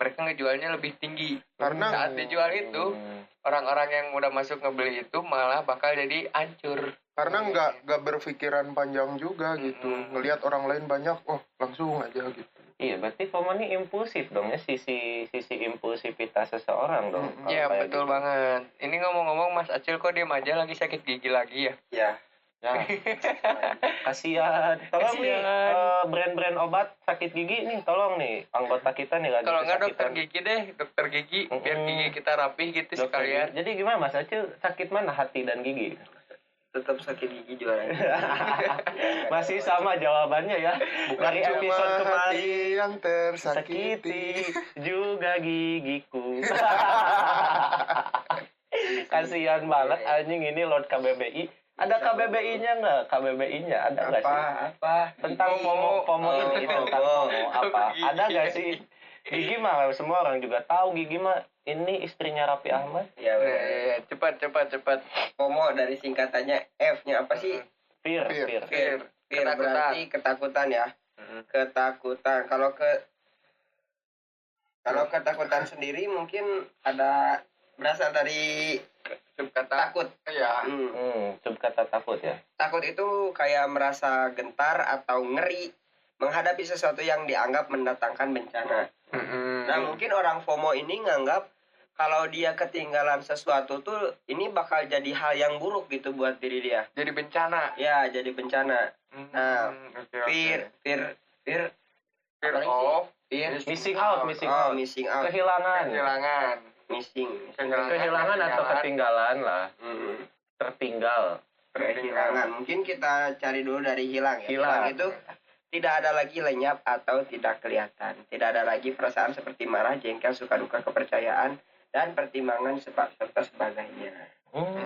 Speaker 6: mereka ngejualnya lebih tinggi.
Speaker 8: Karena-
Speaker 6: saat dijual itu,
Speaker 5: Hmm.
Speaker 6: orang-orang yang udah masuk ngebeli itu malah bakal jadi hancur.
Speaker 8: Karena nggak nggak berpikiran panjang juga gitu.
Speaker 6: Mm-mm.
Speaker 8: Ngelihat orang lain banyak, oh langsung aja gitu.
Speaker 5: Iya, berarti FOMO ini impulsif dong ya sisi sisi impulsivitas seseorang dong.
Speaker 8: Mm,
Speaker 5: kalau
Speaker 6: Iya
Speaker 5: kayak
Speaker 6: betul
Speaker 5: gitu.
Speaker 6: banget. Ini ngomong-ngomong Mas Acil kok diem aja lagi sakit gigi lagi ya?
Speaker 7: Ya.
Speaker 5: Nah, kasihan. Tolong nih
Speaker 6: Kasihan.
Speaker 5: eh, brand-brand obat sakit gigi nih, tolong nih anggota kita nih lagi
Speaker 6: Kalau nggak dokter
Speaker 5: kesakitan.
Speaker 6: gigi deh, dokter gigi biar
Speaker 5: Mm-mm.
Speaker 6: gigi kita rapih gitu
Speaker 5: Dokter
Speaker 6: sekalian.
Speaker 5: gigi. Jadi gimana Mas Acil? Sakit mana hati dan gigi?
Speaker 7: Tetap sakit gigi juara.
Speaker 5: Masih sama jawabannya ya. Dari
Speaker 8: Cuma
Speaker 5: episode
Speaker 8: hati
Speaker 5: kemarin.
Speaker 8: yang tersakiti.
Speaker 5: Sakiti juga gigiku. Kasihan banget anjing ini Lord KBBI. Ada KBBI-nya nggak? KBBI-nya ada nggak
Speaker 7: Apa
Speaker 5: sih?
Speaker 7: apa?
Speaker 5: Tentang
Speaker 6: Pomo.
Speaker 5: pomo, pomo
Speaker 7: Oh,
Speaker 5: ini
Speaker 7: pomo.
Speaker 5: tentang pomo apa?
Speaker 6: Gigi.
Speaker 5: Ada nggak sih? Gigi mah semua orang juga tahu Gigi mah ini istrinya Raffi Ahmad.
Speaker 6: Ya,
Speaker 7: Ya, benar.
Speaker 6: ya, ya. cepat cepat cepat.
Speaker 7: FOMO dari singkatannya F-nya apa sih?
Speaker 5: Fir,
Speaker 8: Fir.
Speaker 5: Fir.
Speaker 6: Fir.
Speaker 7: Fear
Speaker 6: Ketakutan.
Speaker 7: berarti ketakutan ya. Ketakutan. Kalau ke kalau ketakutan sendiri mungkin ada berasal dari
Speaker 6: Subkata.
Speaker 7: takut.
Speaker 6: Ya.
Speaker 7: Hmm.
Speaker 5: Hmm, subkata takut ya.
Speaker 7: Takut itu kayak merasa gentar atau ngeri menghadapi sesuatu yang dianggap mendatangkan bencana.
Speaker 6: Mm.
Speaker 7: Nah,
Speaker 5: Hmm.
Speaker 7: mungkin orang FOMO ini nganggap kalau dia ketinggalan sesuatu tuh ini bakal jadi hal yang buruk gitu buat diri dia.
Speaker 6: Jadi bencana.
Speaker 7: Ya, jadi bencana. Nah,
Speaker 6: Hmm, oke, oke.
Speaker 7: Fear, fear, fear,
Speaker 6: Fear
Speaker 7: apalagi sih?
Speaker 6: of
Speaker 7: fear.
Speaker 5: Missing out, missing
Speaker 7: Oh,
Speaker 5: out.
Speaker 7: missing out,
Speaker 5: Kehilangan.
Speaker 6: kehilangan.
Speaker 7: missing.
Speaker 5: Kehilangan atau ketinggalan lah.
Speaker 7: Mm,
Speaker 5: Tertinggal.
Speaker 7: Kehilangan. Mungkin kita cari dulu dari hilang ya.
Speaker 5: Hilang.
Speaker 7: itu tidak ada lagi lenyap atau tidak kelihatan. Tidak ada lagi perasaan seperti marah, jengkel, suka duka, kepercayaan dan pertimbangan sebab serta sebagainya.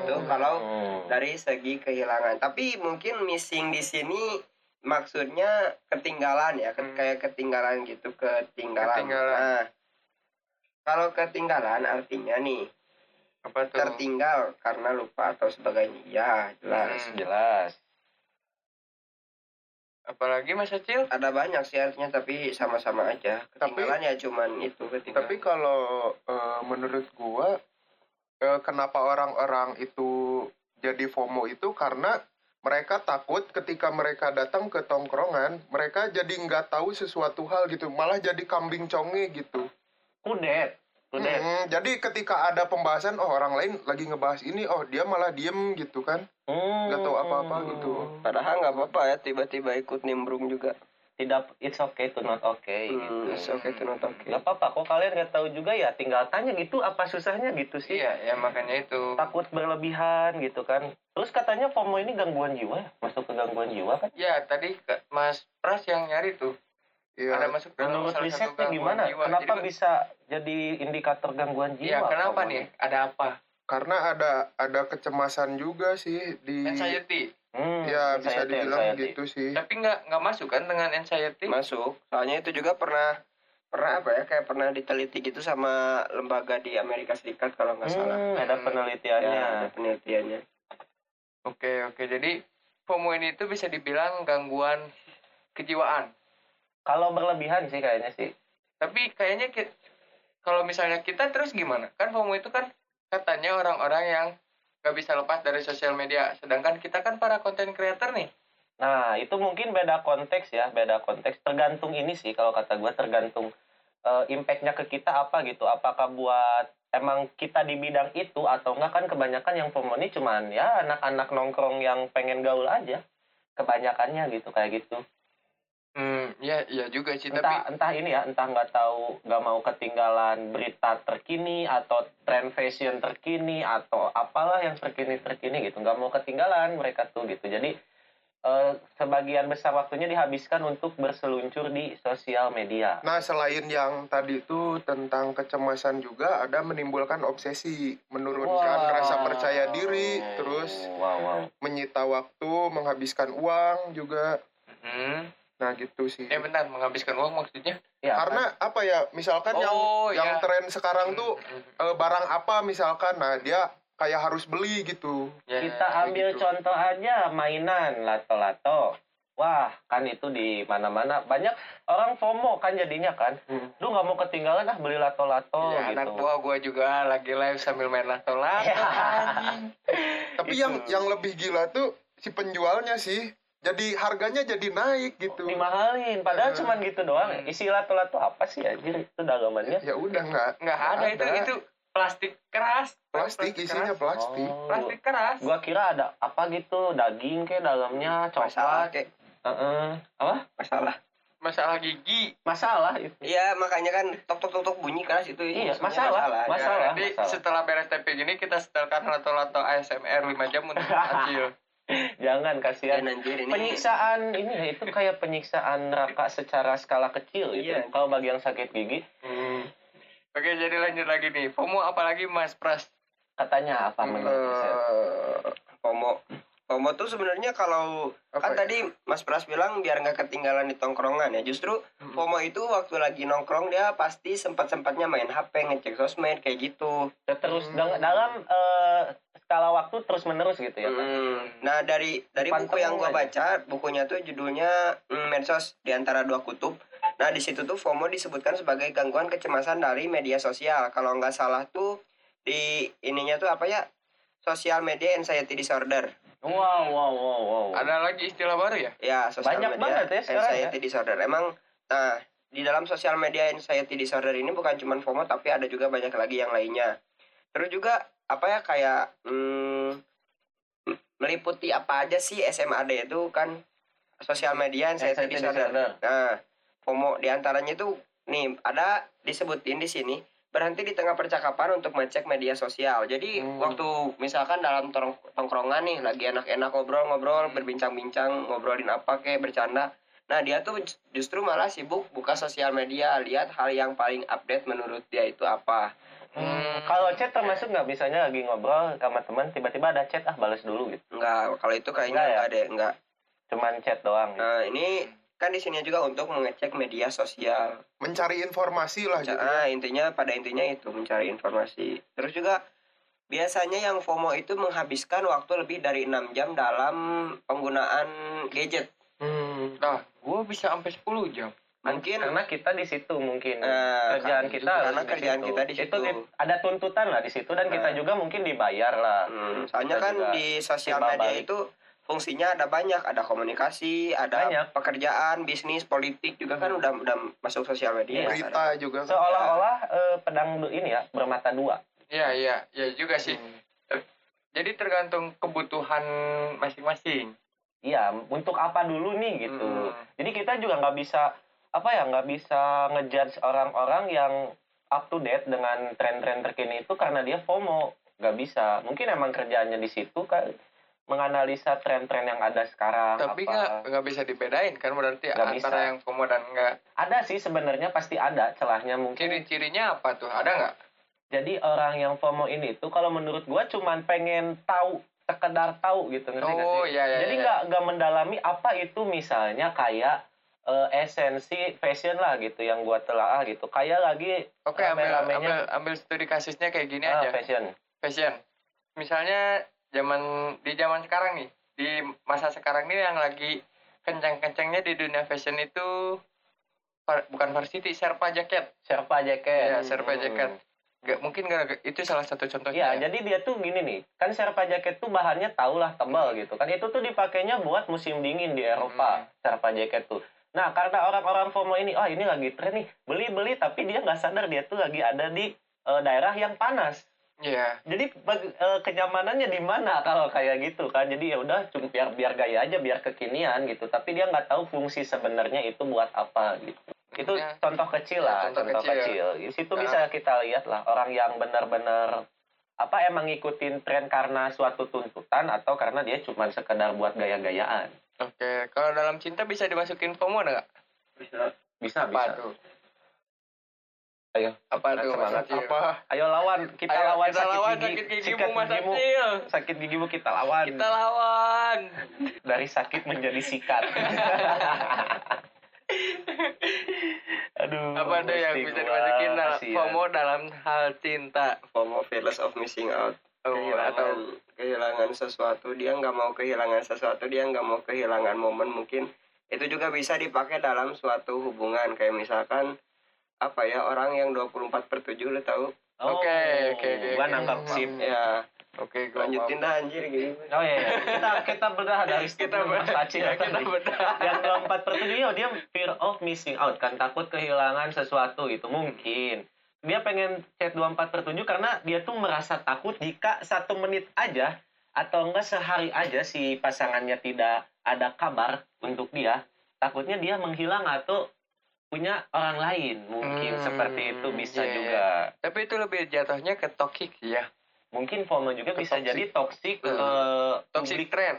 Speaker 7: Itu kalau
Speaker 5: Hmm.
Speaker 7: dari segi kehilangan. Tapi mungkin missing di sini maksudnya ketinggalan ya, ke-
Speaker 6: Hmm.
Speaker 7: kayak ketinggalan gitu, ketinggalan.
Speaker 6: Ketinggalan.
Speaker 7: Nah, kalau ketinggalan artinya nih
Speaker 6: Hmm. Apa tuh?
Speaker 7: tertinggal karena lupa atau sebagainya. Ya, jelas.
Speaker 6: Hmm.
Speaker 5: jelas.
Speaker 6: Apalagi Mas Acil?
Speaker 7: Ada banyak sih artinya tapi sama-sama aja.
Speaker 8: Tapi-
Speaker 7: Ketinggalan ya cuman itu ketinggalan.
Speaker 8: Tapi kalau eh, menurut gua eh, kenapa orang-orang itu jadi FOMO itu karena mereka takut ketika mereka datang ke tongkrongan, mereka jadi nggak tahu sesuatu hal gitu, malah jadi kambing conge gitu.
Speaker 5: Kudet. Kudet.
Speaker 8: Mm, jadi ketika ada pembahasan, oh orang lain lagi ngebahas ini, oh dia malah diem gitu kan,
Speaker 5: Hmm.
Speaker 8: nggak tahu apa-apa gitu.
Speaker 7: padahal nggak apa-apa ya tiba-tiba ikut nimbrung juga.
Speaker 5: Tidak, it's okay to not okay.
Speaker 6: Iya,
Speaker 7: Hmm, it's
Speaker 5: Gitu.
Speaker 7: okay to not okay.
Speaker 5: Gak apa-apa, kok kalian nggak tahu juga ya tinggal tanya gitu apa susahnya gitu sih.
Speaker 6: Iya, ya makanya itu.
Speaker 5: Takut berlebihan gitu kan. Terus katanya FOMO ini gangguan jiwa ya? Masuk ke gangguan jiwa kan?
Speaker 6: Ya, tadi Kak- Mas Pras ya, yang nyari tuh.
Speaker 8: Iya.
Speaker 6: Ada masuk dalam
Speaker 5: Menurut
Speaker 6: salah satu
Speaker 5: risetnya
Speaker 6: gangguan
Speaker 5: gimana?
Speaker 6: jiwa.
Speaker 5: Kenapa
Speaker 6: Jadi, kan-
Speaker 5: bisa jadi indikator gangguan jiwa?
Speaker 6: Iya, kenapa
Speaker 5: FOMO?
Speaker 6: nih? Ada apa? Iya.
Speaker 8: Karena ada ada kecemasan juga sih di
Speaker 6: Anxiety.
Speaker 5: Hmm,
Speaker 8: ya bisa
Speaker 5: anxiety,
Speaker 8: dibilang
Speaker 5: anxiety.
Speaker 8: gitu sih
Speaker 6: Tapi nggak nggak masuk kan dengan anxiety?
Speaker 7: masuk soalnya itu juga pernah pernah apa ya kayak pernah diteliti gitu sama lembaga di Amerika Serikat kalau nggak salah
Speaker 5: Hmm, ada penelitiannya.
Speaker 7: ya ada penelitiannya
Speaker 6: Oke oke jadi FOMO ini itu bisa dibilang gangguan kejiwaan.
Speaker 5: Kalau berlebihan sih kayaknya sih.
Speaker 6: Tapi kayaknya ki- kalau misalnya kita terus gimana? Kan FOMO itu kan katanya orang-orang yang nggak bisa lepas dari sosial media. Sedangkan kita kan para konten creator nih.
Speaker 5: Nah, itu mungkin beda konteks ya, beda konteks. Tergantung ini sih, kalau kata gue tergantung eh, impact-nya ke kita apa gitu. Apakah buat emang kita di bidang itu atau enggak kan kebanyakan yang FOMO ini cuman ya anak-anak nongkrong yang pengen gaul aja. Kebanyakannya gitu, kayak gitu.
Speaker 6: Hmm, ya ya juga sih.
Speaker 5: Entah, entah ini ya, entah nggak tahu nggak mau ketinggalan berita terkini atau tren fashion terkini atau apalah yang terkini terkini gitu, nggak mau ketinggalan mereka tuh gitu. Jadi eh, sebagian besar waktunya dihabiskan untuk berseluncur di sosial media.
Speaker 8: Nah, selain yang tadi itu tentang kecemasan juga ada menimbulkan obsesi, menurunkan
Speaker 5: Wow.
Speaker 8: rasa percaya diri, terus
Speaker 5: Oh, wow, wow.
Speaker 8: menyita waktu, menghabiskan uang juga.
Speaker 6: Tapi hmm,
Speaker 8: Nah, gitu sih.
Speaker 6: ya benar menghabiskan uang maksudnya.
Speaker 5: Ya,
Speaker 8: Karena apa ya? Misalkan yang
Speaker 6: kan? Oh, ya.
Speaker 8: yang tren sekarang tuh eh, barang apa misalkan, nah dia kayak harus beli gitu.
Speaker 6: Ya,
Speaker 5: kan? kita
Speaker 6: kayak
Speaker 5: ambil
Speaker 6: gitu.
Speaker 5: contoh aja mainan lato-lato. Wah, kan itu di mana-mana banyak orang FOMO kan jadinya kan. Lu nggak mau ketinggalan ah beli lato-lato
Speaker 6: ya, Hmm.
Speaker 5: gitu. Ya. Iya.
Speaker 6: anak buah gua juga lagi live sambil main lato lato.
Speaker 8: Tapi
Speaker 6: Gitu.
Speaker 5: Itu.
Speaker 8: yang yang lebih gila tuh si penjualnya sih. Jadi harganya jadi naik gitu.
Speaker 5: dimahalin padahal
Speaker 8: Heeh.
Speaker 5: cuman gitu doang ya.
Speaker 6: Hmm.
Speaker 5: isi lato-lato apa sih anjir itu dagangannya
Speaker 8: Ya udah nggak
Speaker 6: Nggak ada, itu itu plastik keras.
Speaker 8: plastik isinya
Speaker 6: keras.
Speaker 8: plastik.
Speaker 5: Oh,
Speaker 6: Plastik keras.
Speaker 5: gua kira ada apa gitu daging kayak dalamnya coklat
Speaker 7: masalah kayak
Speaker 5: Heeh. apa
Speaker 7: masalah
Speaker 6: Masalah gigi.
Speaker 5: masalah itu
Speaker 7: iya makanya kan tok tok tok tok bunyi keras itu
Speaker 5: Iya,
Speaker 7: maksudnya ya.
Speaker 5: masalah, masalah.
Speaker 6: Jadi setelah beres TP gini kita setelkan lato-lato ASMR 5 jam untuk kecil.
Speaker 5: jangan kasihan
Speaker 7: Dan Iya, anjir ini
Speaker 5: penyiksaan ini ya, itu kayak penyiksaan neraka secara skala kecil itu
Speaker 7: Iya.
Speaker 5: kalau bagi yang sakit gigi
Speaker 6: Hmm. Oke, jadi lanjut lagi nih. FOMO apalagi Mas Pras?
Speaker 5: katanya
Speaker 7: Hmm.
Speaker 5: apa menurut saya
Speaker 7: eh FOMO FOMO tuh sebenarnya kalau kan
Speaker 8: Apa ya?
Speaker 7: tadi Mas Pras bilang biar nggak ketinggalan di tongkrongan ya justru
Speaker 6: Hmm.
Speaker 7: FOMO itu waktu lagi nongkrong dia pasti sempat sempatnya main HP ngecek sosmed kayak gitu
Speaker 5: Ya, terus
Speaker 8: Hmm.
Speaker 5: dang- dalam eh, skala waktu terus menerus gitu ya Pak?
Speaker 7: Mm. Nah dari dari
Speaker 5: Depan
Speaker 7: buku yang
Speaker 5: temu
Speaker 7: gua
Speaker 5: aja.
Speaker 7: baca, bukunya tuh judulnya mm, Medsos di antara dua kutub. Nah di situ tuh FOMO disebutkan sebagai gangguan kecemasan dari media sosial. Kalau nggak salah tuh di ininya tuh apa ya? Social media anxiety disorder.
Speaker 5: wow wow wow wow
Speaker 6: Ada lagi istilah baru ya?
Speaker 7: Ya, sosial
Speaker 5: Banyak
Speaker 7: media
Speaker 5: banget ya sekarang
Speaker 7: anxiety disorder. Emang nah, di dalam sosial media anxiety disorder ini bukan cuma FOMO tapi ada juga banyak lagi yang lainnya. Terus juga apa ya kayak hmm, meliputi apa aja sih SMAD itu kan sosial media anxiety,
Speaker 5: Anxiety
Speaker 7: disorder.
Speaker 5: disorder.
Speaker 7: Nah, FOMO di antaranya itu nih ada disebutin di sini berhenti di tengah percakapan untuk ngecek media sosial. Jadi
Speaker 8: Hmm.
Speaker 7: waktu misalkan dalam tong- tongkrongan nih lagi enak-enak ngobrol-ngobrol, berbincang-bincang, ngobrolin apa kayak bercanda. Nah dia tuh ju- justru malah sibuk buka sosial media lihat hal yang paling update menurut dia itu apa.
Speaker 5: Hmm,
Speaker 7: iya,
Speaker 5: kalau chat termasuk nggak misalnya lagi ngobrol sama teman tiba-tiba ada chat ah balas dulu gitu.
Speaker 7: Enggak, kalau itu kayaknya
Speaker 5: Enggak ya?
Speaker 7: enggak deh, enggak.
Speaker 5: Cuman chat doang. gitu.
Speaker 7: Nah ini kan di sini juga untuk mengecek media sosial.
Speaker 8: Mencari informasi lah gitu.
Speaker 7: Ah, intinya pada intinya itu mencari informasi. Terus juga biasanya yang FOMO itu menghabiskan waktu lebih dari enam jam dalam penggunaan gadget.
Speaker 6: Hmm. Nah, gua bisa sampai 10 jam.
Speaker 7: Mungkin
Speaker 5: Karena kita di situ mungkin
Speaker 7: eh,
Speaker 5: kerjaan
Speaker 7: karena-
Speaker 5: kita
Speaker 7: karena
Speaker 5: harus di
Speaker 7: kerjaan
Speaker 5: situ.
Speaker 7: kita di situ.
Speaker 5: Itu di- ada tuntutan lah di situ dan kita
Speaker 7: Nah.
Speaker 5: juga mungkin dibayar lah.
Speaker 7: Hmm, soalnya
Speaker 5: Kita
Speaker 7: kan
Speaker 5: juga
Speaker 7: di sosial
Speaker 5: timbal
Speaker 7: media
Speaker 5: balik.
Speaker 7: itu fungsinya ada banyak, ada komunikasi, ada
Speaker 5: Banyak.
Speaker 7: pekerjaan, bisnis, politik juga kan udah udah masuk sosial
Speaker 5: Iya.
Speaker 7: media.
Speaker 8: Berita juga kan.
Speaker 5: Seolah-olah eh, pedang du- ini ya bermata dua. Hmm.
Speaker 6: Iya, iya, iya juga sih. Jadi tergantung kebutuhan masing-masing.
Speaker 5: Iya, untuk apa dulu nih gitu.
Speaker 6: Hmm.
Speaker 5: Jadi kita juga nggak bisa apa ya nggak bisa ngejudge orang-orang yang up to date dengan tren-tren terkini itu karena dia FOMO nggak bisa. Mungkin emang kerjaannya di situ kan menganalisa tren-tren yang ada sekarang.
Speaker 6: Tapi
Speaker 5: apa.
Speaker 6: nggak nggak bisa dibedain kan berarti
Speaker 5: Nggak
Speaker 6: antara
Speaker 5: bisa.
Speaker 6: yang FOMO dan nggak.
Speaker 5: Ada sih sebenarnya pasti ada celahnya mungkin.
Speaker 6: Ciri-cirinya apa tuh? Ada nggak?
Speaker 5: Jadi orang yang FOMO ini tuh kalau menurut gua cuman pengen tahu sekedar tahu gitu ngerti nggak
Speaker 6: Oh
Speaker 5: sih?
Speaker 6: iya iya.
Speaker 5: Jadi nggak nggak mendalami apa itu misalnya kayak eh, esensi fashion lah gitu yang gua telaah gitu. Kayak lagi
Speaker 6: Oke ambil,
Speaker 5: rame-ramenya.
Speaker 6: ambil ambil studi kasusnya kayak gini
Speaker 5: ah,
Speaker 6: aja.
Speaker 5: fashion.
Speaker 6: Fashion. Misalnya zaman di zaman sekarang nih, di masa sekarang ini yang lagi kencang-kencangnya di dunia fashion itu par- bukan varsity, serpa jaket.
Speaker 5: Sherpa
Speaker 6: Iya,
Speaker 5: jacket.
Speaker 6: Sherpa
Speaker 5: Hmm.
Speaker 6: jaket. Gak, mungkin gara itu salah satu contohnya. ya.
Speaker 5: Iya, jadi dia tuh gini nih, kan Sherpa jaket tuh bahannya tahulah tebal gitu kan. Itu tuh dipakainya buat musim dingin di Eropa, Sherpa jaket tuh. Nah, karena orang-orang FOMO ini, oh ini lagi tren nih, beli-beli tapi dia nggak sadar dia tuh lagi ada di eh, daerah yang panas.
Speaker 6: Iya.
Speaker 5: Jadi bag- eh, kenyamanannya di mana kalau kayak gitu kan? Jadi ya udah cuma biar biar gaya aja, biar kekinian gitu. Tapi dia nggak tahu fungsi sebenarnya itu buat apa gitu. Itu
Speaker 6: Ya.
Speaker 5: contoh kecil lah,
Speaker 6: Ya, contoh
Speaker 5: contoh,
Speaker 6: kecil.
Speaker 5: kecil. Di situ
Speaker 6: Ya.
Speaker 5: bisa kita lihat lah orang yang benar-benar apa emang ngikutin tren karena suatu tuntutan atau karena dia cuma sekedar buat gaya-gayaan.
Speaker 6: Oke, kalau dalam cinta bisa dimasukin FOMO nggak?
Speaker 5: Bisa,
Speaker 6: Apa
Speaker 5: bisa.
Speaker 6: tuh?
Speaker 5: Ayo,
Speaker 6: Apa
Speaker 5: semangat,
Speaker 6: tuh?
Speaker 5: semangat.
Speaker 6: Mas Acil?
Speaker 8: Apa?
Speaker 5: Ayo lawan, kita
Speaker 6: Ayo,
Speaker 5: lawan
Speaker 6: kita
Speaker 5: sakit
Speaker 6: lawan
Speaker 5: gigi,
Speaker 6: sakit gigi
Speaker 5: sikat
Speaker 6: gigimu, Mas
Speaker 5: gigimu.
Speaker 6: Acil.
Speaker 5: Sakit gigimu kita lawan.
Speaker 6: Kita lawan.
Speaker 5: dari sakit menjadi sikat. Aduh.
Speaker 6: Apa tuh yang
Speaker 5: mesti
Speaker 6: bisa
Speaker 5: gua, ya.
Speaker 6: dimasukin dalam
Speaker 5: kasihan.
Speaker 6: FOMO dalam hal cinta?
Speaker 7: FOMO fearless of missing out
Speaker 6: Oh,
Speaker 5: Iya.
Speaker 7: kehilangan
Speaker 6: atau
Speaker 7: kehilangan sesuatu dia nggak mau kehilangan sesuatu dia nggak mau kehilangan momen mungkin itu juga bisa dipakai dalam suatu hubungan kayak misalkan apa ya orang yang 24 per 7 lu tahu
Speaker 5: Oh,
Speaker 6: Oke, oke, oke,
Speaker 5: Gua
Speaker 6: oke.
Speaker 5: nangkap
Speaker 6: Paham.
Speaker 5: sip.
Speaker 7: ya
Speaker 6: oke, gua
Speaker 7: lanjutin dah anjir gitu
Speaker 5: Oh iya, iya. kita kita bedah dari
Speaker 6: Kita
Speaker 5: statement Mas
Speaker 6: bedah.
Speaker 5: Acil
Speaker 6: Ya,
Speaker 5: tadi.
Speaker 6: kita bedah.
Speaker 5: Yang keempat pertanyaan dia fear of missing out kan takut kehilangan sesuatu gitu mungkin. Dia pengen chat 24 per 7 karena dia tuh merasa takut jika satu menit aja atau enggak sehari aja si pasangannya tidak ada kabar untuk dia, takutnya dia menghilang atau punya orang lain mungkin
Speaker 6: Hmm,
Speaker 5: seperti itu bisa
Speaker 6: iya, iya.
Speaker 5: juga.
Speaker 6: Tapi itu lebih jatuhnya ke toxic ya.
Speaker 5: Iya. Mungkin FOMO juga bisa
Speaker 6: Toxic.
Speaker 5: jadi toxic
Speaker 6: Hmm.
Speaker 5: eh,
Speaker 6: Toxic trend.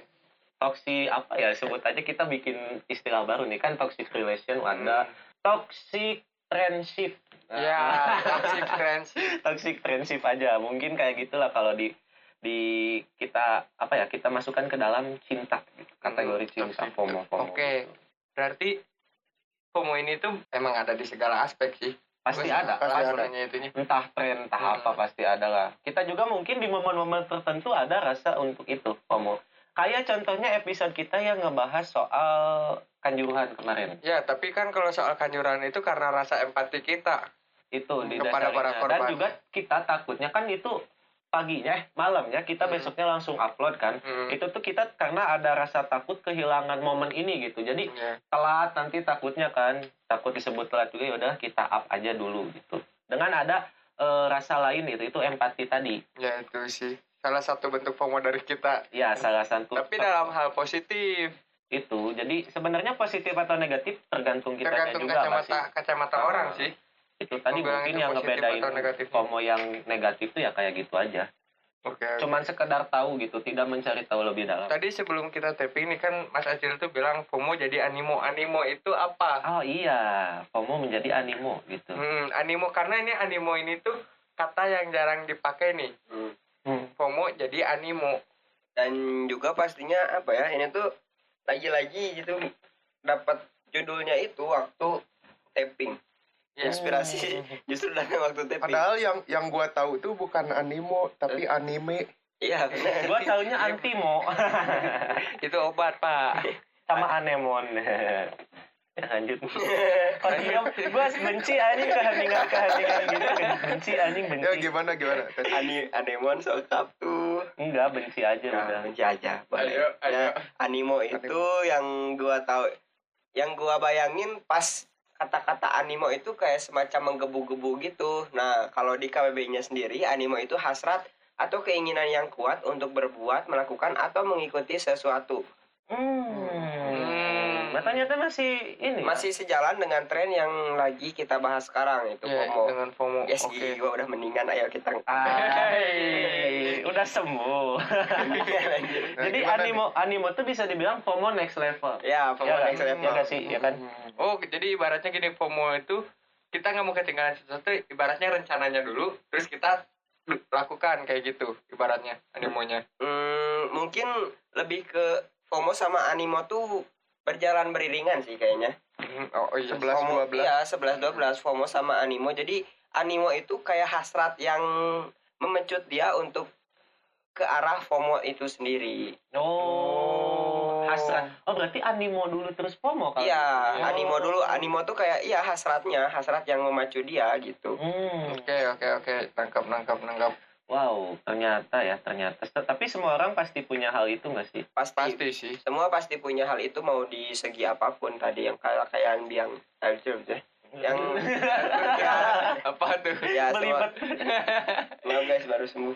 Speaker 5: toxic apa ya sebut aja kita bikin istilah baru nih kan toxic relation
Speaker 6: Hmm.
Speaker 5: ada toxic friendship Nah,
Speaker 6: Ya, toxic trend.
Speaker 5: toxic friendship aja mungkin kayak gitulah kalau di di kita apa ya kita masukkan ke dalam cinta gitu. kategori
Speaker 6: Hmm,
Speaker 5: cinta
Speaker 6: toxic.
Speaker 5: FOMO
Speaker 6: Oke.
Speaker 5: FOMO
Speaker 6: Berarti FOMO ini tuh emang ada di segala aspek sih.
Speaker 5: pasti ada
Speaker 6: Pasti
Speaker 5: pasti
Speaker 6: ada. Itunya.
Speaker 5: entah tren entah
Speaker 6: Hmm.
Speaker 5: apa pasti ada lah kita juga mungkin di momen-momen tertentu ada rasa untuk itu FOMO kayak contohnya episode kita yang ngebahas soal kanjuruhan kemarin
Speaker 6: Ya, tapi kan kalau soal kanjuran itu karena rasa empati kita.
Speaker 5: itu di
Speaker 6: Hmm, Kepada para
Speaker 5: dasarnya.
Speaker 6: korban.
Speaker 5: dan juga kita takutnya kan itu paginya eh, malamnya kita
Speaker 6: Hmm.
Speaker 5: besoknya langsung upload kan
Speaker 6: Hmm.
Speaker 5: itu tuh kita karena ada rasa takut kehilangan momen ini gitu jadi
Speaker 6: Ya.
Speaker 5: telat nanti takutnya kan takut disebut telat juga ya udah kita up aja dulu gitu dengan ada eh, rasa lain itu itu empati tadi
Speaker 6: ya, itu sih. Salah satu bentuk FOMO dari kita.
Speaker 5: ya salah satu
Speaker 6: Tapi dalam hal positif,
Speaker 5: itu jadi sebenarnya positif atau negatif tergantung kita
Speaker 6: tergantung
Speaker 5: juga nggak sih?
Speaker 6: kacamata kacamata
Speaker 5: Ah.
Speaker 6: orang sih.
Speaker 5: itu tadi
Speaker 6: Mau bilang
Speaker 5: mungkin
Speaker 6: itu
Speaker 5: yang
Speaker 6: positif
Speaker 5: ngebedain
Speaker 6: atau negatif.
Speaker 5: FOMO yang negatif tuh ya kayak gitu aja
Speaker 6: Oke.
Speaker 5: cuman sekedar tahu gitu tidak mencari tahu lebih dalam
Speaker 6: Tadi sebelum kita taping ini kan Mas Acil tuh bilang FOMO jadi animo. Animo itu apa?
Speaker 5: oh iya FOMO menjadi animo gitu
Speaker 6: Hmm, animo karena ini animo ini tuh kata yang jarang dipakai nih.
Speaker 7: Hmm.
Speaker 6: FOMO jadi animo.
Speaker 7: dan juga pastinya apa ya ini tuh lagi-lagi gitu dapat judulnya itu waktu taping
Speaker 6: Ya.
Speaker 7: inspirasi justru dari waktu taping
Speaker 8: Padahal yang yang gua tahu tuh bukan animo tapi anime.
Speaker 7: iya benar
Speaker 5: gua taunya antimo
Speaker 6: Itu obat, Pak.
Speaker 5: sama anemon Ya, lanjut Kalau diam, gua benci anjing keheningan keheningan gitu benci anjing benci
Speaker 8: Ya gimana gimana?
Speaker 7: Ani anemon sokap tuh
Speaker 5: enggak benci aja Ya udah
Speaker 7: Nah, menjajah boleh.
Speaker 6: Ayo, ayo.
Speaker 7: Ya, animo itu yang gua tahu yang gua bayangin pas kata-kata animo itu kayak semacam menggebu-gebu gitu nah kalau di KBB-nya sendiri animo itu hasrat atau keinginan yang kuat untuk berbuat melakukan atau mengikuti sesuatu
Speaker 5: hmm matanya tuh masih ini ya?
Speaker 7: masih sejalan dengan tren yang lagi kita bahas sekarang
Speaker 5: Iya,
Speaker 7: itu
Speaker 6: Ya,
Speaker 7: Iya, FOMO
Speaker 6: dengan FOMO.
Speaker 7: yes iya.
Speaker 6: Oke.
Speaker 7: gigi gua udah mendingan ayo kita
Speaker 5: Hai, udah sembuh jadi
Speaker 8: gimana
Speaker 5: animo animo tuh bisa dibilang FOMO next level
Speaker 7: ya FOMO
Speaker 5: ya kan?
Speaker 7: next level
Speaker 5: Ya nggak sih ya kan
Speaker 6: Oh, jadi ibaratnya gini FOMO itu kita nggak mau ketinggalan sesuatu, ibaratnya rencananya dulu, terus kita lakukan kayak gitu ibaratnya animonya.
Speaker 7: Hmm, mungkin lebih ke FOMO sama animo tuh berjalan beriringan sih kayaknya.
Speaker 6: Hmm, Oh, oh iya.
Speaker 8: Sebelas,
Speaker 7: FOMO,
Speaker 8: dua belas.
Speaker 7: Iya, 11 12 FOMO sama animo. Jadi animo itu kayak hasrat yang memecut dia untuk ke arah FOMO itu sendiri.
Speaker 5: Oh, hasrat. Oh, berarti animo dulu terus FOMO kan?
Speaker 7: Iya,
Speaker 8: Oh.
Speaker 7: animo dulu animo tuh kayak iya hasratnya, hasrat yang memacu dia gitu.
Speaker 5: Hmm.
Speaker 6: Oke oke oke nangkap nangkap nangkap
Speaker 5: Wow, ternyata ya, ternyata. Se- Tapi semua orang pasti punya hal itu nggak sih?
Speaker 7: Pasti,
Speaker 8: Iya.
Speaker 6: pasti sih.
Speaker 7: semua pasti punya hal itu mau di segi apapun tadi yang kayak kayak yang biang eh, yang
Speaker 5: Hmm.
Speaker 7: ya,
Speaker 6: Apa tuh?
Speaker 7: ya semua,
Speaker 5: Belibet.
Speaker 7: Maaf guys baru sembuh.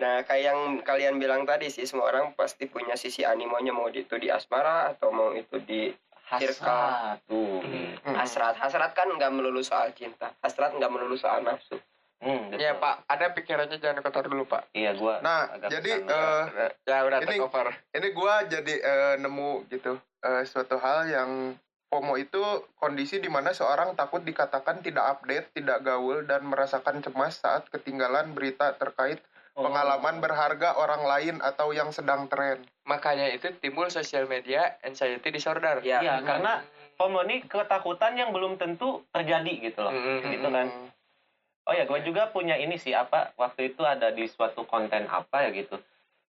Speaker 7: Nah kayak yang kalian bilang tadi sih semua orang pasti punya sisi animonya mau di- itu di asmara atau mau itu di
Speaker 5: Hasrat tuh.
Speaker 6: Hmm.
Speaker 7: hasrat. Hasrat kan nggak melulu soal cinta. Hasrat nggak melulu soal nafsu.
Speaker 5: Hmm, betul.
Speaker 7: Iya,
Speaker 6: Ya Pak, ada pikirannya jangan kotor dulu Pak.
Speaker 5: Iya, gua.
Speaker 8: Nah,
Speaker 5: agak
Speaker 8: jadi
Speaker 5: kurang-
Speaker 8: eh,
Speaker 6: Ya udah
Speaker 8: Ini-
Speaker 6: tercover.
Speaker 8: ini gua jadi eh, nemu gitu eh, suatu hal yang FOMO itu kondisi di mana seorang takut dikatakan tidak update, tidak gaul, dan merasakan cemas saat ketinggalan berita terkait pengalaman berharga orang lain atau yang sedang tren.
Speaker 6: Makanya itu timbul sosial media anxiety disorder.
Speaker 7: Ya.
Speaker 5: Iya, karena FOMO ini ketakutan yang belum tentu terjadi gitu loh.
Speaker 6: Mm-mm.
Speaker 5: Gitu kan. Oh ya, gue juga punya ini sih apa waktu itu ada di suatu konten apa ya gitu.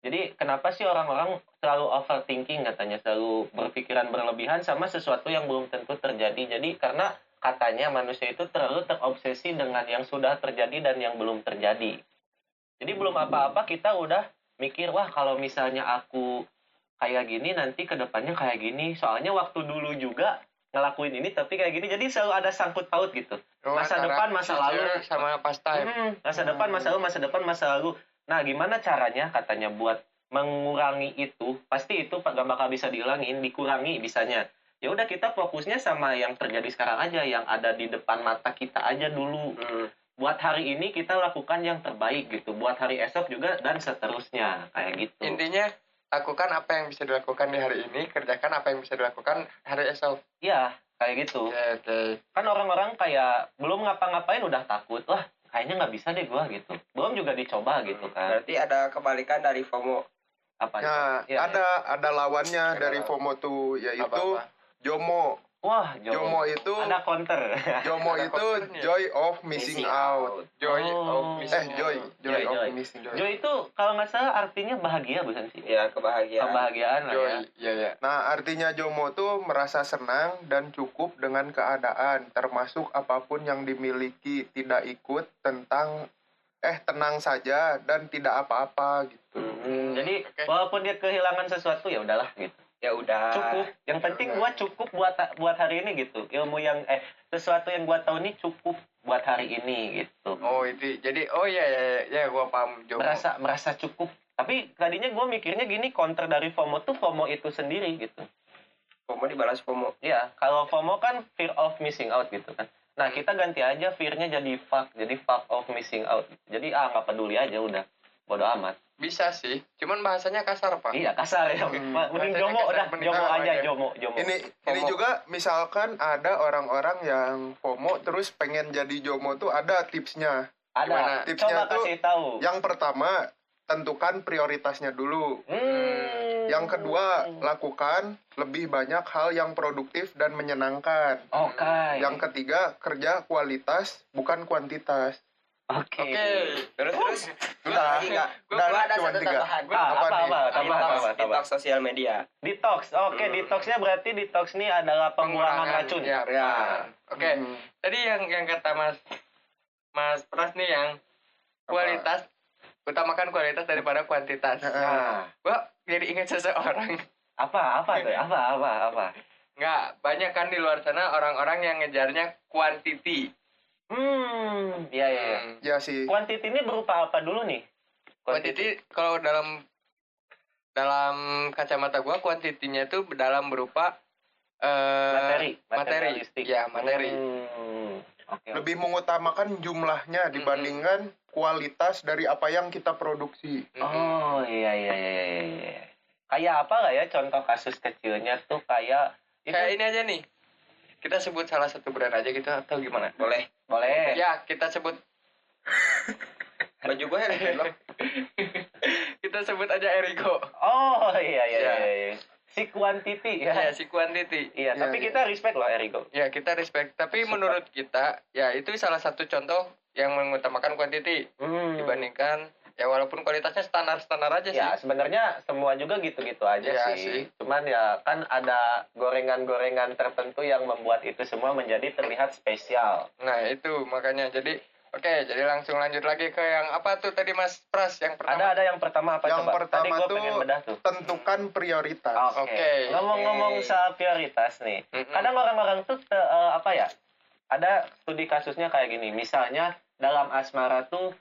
Speaker 5: Jadi kenapa sih orang-orang selalu overthinking katanya, selalu berpikiran berlebihan sama sesuatu yang belum tentu terjadi. Jadi karena katanya manusia itu terlalu terobsesi dengan yang sudah terjadi dan yang belum terjadi. Jadi belum apa-apa kita udah mikir wah kalau misalnya aku kayak gini nanti kedepannya kayak gini. Soalnya waktu dulu juga ngelakuin ini tapi kayak gini. Jadi selalu ada sangkut paut gitu.
Speaker 6: Oh,
Speaker 5: Masa
Speaker 6: antara
Speaker 5: depan, masa
Speaker 6: future
Speaker 5: lalu.
Speaker 6: sama ya. past time.
Speaker 5: Mm, masa depan masa lalu masa depan masa lalu nah gimana caranya katanya buat mengurangi itu pasti itu pak gak bakal bisa dihilangin dikurangi bisanya ya udah kita fokusnya sama yang terjadi sekarang aja yang ada di depan mata kita aja dulu
Speaker 7: Hmm.
Speaker 5: buat hari ini kita lakukan yang terbaik gitu buat hari esok juga dan seterusnya kayak gitu
Speaker 6: Intinya lakukan apa yang bisa dilakukan di hari ini, kerjakan apa yang bisa dilakukan hari esok.
Speaker 5: ya kayak gitu
Speaker 6: Oke, oke.
Speaker 5: kan orang-orang kayak belum ngapa-ngapain udah takut wah kayaknya nggak bisa deh gua gitu belum juga dicoba gitu kan
Speaker 7: Hmm, Berarti ada kebalikan dari FOMO.
Speaker 5: apa itu?
Speaker 8: Nah,
Speaker 5: Iya,
Speaker 8: ada ada lawannya
Speaker 6: Ada
Speaker 8: dari
Speaker 6: lawan.
Speaker 8: FOMO tuh yaitu
Speaker 6: Apa-apa.
Speaker 8: JOMO.
Speaker 5: wah
Speaker 8: JOMO
Speaker 5: jauh
Speaker 8: itu
Speaker 5: ada counter
Speaker 6: Iya.
Speaker 8: JOMO
Speaker 6: Ada
Speaker 8: itu
Speaker 6: kontennya.
Speaker 8: joy of missing out.
Speaker 6: Joy of
Speaker 5: Oh.
Speaker 6: missing
Speaker 8: Eh, joy,
Speaker 6: out.
Speaker 8: joy,
Speaker 5: Joy,
Speaker 8: of
Speaker 5: joy. Ya.
Speaker 8: missing out.
Speaker 5: Jo itu kalau nggak salah artinya bahagia bukan sih?
Speaker 7: Ya kebahagiaan.
Speaker 5: Kebahagiaan
Speaker 6: Iya,
Speaker 5: lah
Speaker 6: Joy.
Speaker 5: ya.
Speaker 6: Iya, iya.
Speaker 8: Nah, artinya Jomo tuh merasa senang dan cukup dengan keadaan, termasuk apapun yang dimiliki, tidak ikut tentang eh tenang saja dan tidak apa-apa gitu.
Speaker 6: Mm-hmm.
Speaker 5: Hmm, Jadi
Speaker 6: Oke.
Speaker 5: walaupun dia kehilangan sesuatu ya udahlah gitu.
Speaker 7: Ya
Speaker 6: Ah,
Speaker 7: udah.
Speaker 5: Cukup. Yang penting
Speaker 6: udah.
Speaker 5: gua cukup buat buat hari ini gitu. Ilmu yang eh sesuatu yang gua tahu ini cukup buat hari ini gitu.
Speaker 6: Oh, itu. Jadi, oh iya, iya, iya, iya, gua paham Jomo.
Speaker 5: merasa merasa cukup. Tapi tadinya gua mikirnya gini counter dari FOMO tuh FOMO itu sendiri gitu.
Speaker 7: FOMO dibalas FOMO.
Speaker 5: Iya, kalau FOMO kan fear of missing out gitu kan. Nah, kita ganti aja fear-nya jadi fuck, jadi fuck of missing out. Jadi ah nggak peduli aja udah. Bodoh amat.
Speaker 6: Bisa sih, cuman bahasanya kasar, Pak.
Speaker 5: Iya kasar ya.
Speaker 6: Hmm. Rasanya
Speaker 5: Mending jomo
Speaker 6: kasar,
Speaker 5: udah,
Speaker 6: mending
Speaker 5: jomo
Speaker 6: kasar
Speaker 5: aja,
Speaker 6: aja.
Speaker 5: jomo, jomo.
Speaker 8: Ini ini
Speaker 6: FOMO.
Speaker 8: juga misalkan ada orang-orang yang FOMO terus pengen jadi Jomo tuh ada tipsnya.
Speaker 5: ada.
Speaker 6: gimana?
Speaker 5: Coba
Speaker 8: Tipsnya tuh Ya.
Speaker 5: kasih tahu.
Speaker 8: yang pertama tentukan prioritasnya dulu.
Speaker 5: Hmm.
Speaker 8: Yang kedua, lakukan lebih banyak hal yang produktif dan menyenangkan.
Speaker 5: Oke.
Speaker 8: Yang ketiga, kerja kualitas bukan kuantitas.
Speaker 5: Oke.
Speaker 6: Oke.
Speaker 7: Terus terus.
Speaker 8: Udah.
Speaker 7: Lagi nggak?
Speaker 8: Gua
Speaker 7: Gua ada
Speaker 8: cuma
Speaker 7: satu
Speaker 8: tiga.
Speaker 7: tambahan.
Speaker 5: Ah, apa
Speaker 8: Apa
Speaker 5: apa,
Speaker 8: nih?
Speaker 5: tambah,
Speaker 7: Detox,
Speaker 5: tambah, tambah.
Speaker 7: detox sosial media.
Speaker 5: Detox. Oke, detoxnya berarti detox nih adalah pengurangan racun.
Speaker 6: Ya,
Speaker 7: Ya.
Speaker 6: pengurangan. Oke.
Speaker 8: Hmm.
Speaker 6: Tadi yang yang kata Mas Mas Pras nih yang kualitas utamakan kualitas daripada kuantitas.
Speaker 5: Nah,
Speaker 6: Gua jadi ingat seseorang.
Speaker 5: apa apa tuh? Apa apa apa?
Speaker 6: Nggak, banyak kan di luar sana orang-orang yang ngejarnya quantity.
Speaker 5: Hmm, iya
Speaker 7: Eh,
Speaker 5: iya. iya.
Speaker 6: Hmm.
Speaker 8: Ya sih.
Speaker 5: Quantity ini berupa apa dulu nih?
Speaker 6: Quantity kalau dalam dalam kacamata gua kuantitinya itu dalam berupa eh
Speaker 5: Materi,
Speaker 6: materi.
Speaker 5: materialistik.
Speaker 6: Ya, materi.
Speaker 5: Hmm. Oke. oke.
Speaker 8: Lebih mengutamakan jumlahnya dibandingkan kualitas dari apa yang kita produksi.
Speaker 6: Mm-mm.
Speaker 5: Oh iya iya iya iya, iya. Kayak apa lah ya contoh kasus kecilnya tuh kayak itu
Speaker 6: Kayak ini aja nih. Kita sebut salah
Speaker 7: Iya.
Speaker 6: satu brand aja gitu atau gimana?
Speaker 7: Boleh.
Speaker 5: boleh.
Speaker 6: Ya, kita sebut
Speaker 7: baju gue yang belok.
Speaker 6: Kita sebut aja Eriko.
Speaker 5: Oh iya iya
Speaker 6: Iya.
Speaker 5: iya. iya. Si quantity
Speaker 7: Iya,
Speaker 6: Ya,
Speaker 5: ya.
Speaker 6: si quantity.
Speaker 5: Iya,
Speaker 8: Iya,
Speaker 5: tapi
Speaker 8: iya.
Speaker 5: kita respect loh Erigo.
Speaker 6: Ya, kita respect. Tapi menurut kita, ya itu salah satu contoh yang mengutamakan quantity
Speaker 5: Hmm.
Speaker 6: dibandingkan ya walaupun kualitasnya standar-standar aja sih.
Speaker 5: Ya sebenarnya semua juga gitu-gitu aja
Speaker 6: Iya
Speaker 5: sih.
Speaker 6: sih.
Speaker 5: Cuman ya kan ada gorengan-gorengan tertentu yang membuat itu semua menjadi terlihat spesial.
Speaker 6: Nah, itu makanya. Jadi Oke, jadi langsung lanjut lagi ke yang apa tuh tadi Mas Pras yang
Speaker 5: Ada
Speaker 6: pertama.
Speaker 5: ada yang pertama apa
Speaker 8: Yang
Speaker 5: coba?
Speaker 8: pertama
Speaker 5: Tadi gue
Speaker 8: tuh-
Speaker 5: pengen bedah tuh.
Speaker 8: Tentukan prioritas.
Speaker 5: Oke.
Speaker 6: Oke.
Speaker 5: Ngomong-ngomong
Speaker 8: Oke.
Speaker 5: soal prioritas nih.
Speaker 6: Mm-mm.
Speaker 5: Kadang orang-orang tuh te- eh, apa ya? Ada studi kasusnya kayak gini. Misalnya dalam asmara tuh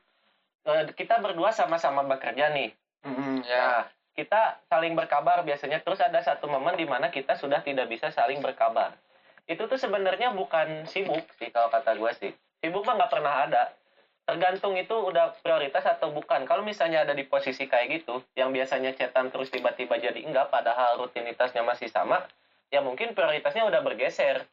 Speaker 5: eh, kita berdua sama-sama bekerja nih.
Speaker 8: Mm-mm.
Speaker 6: ya.
Speaker 5: Nah, kita saling berkabar biasanya terus ada satu momen di mana kita sudah tidak bisa saling berkabar. Itu tuh sebenarnya bukan sibuk sih kalau kata gue sih. Sibuk mah nggak pernah ada. Tergantung itu udah prioritas atau bukan. Kalau misalnya ada di posisi kayak gitu, yang biasanya cetan terus tiba-tiba jadi enggak, padahal rutinitasnya masih sama, ya mungkin prioritasnya udah bergeser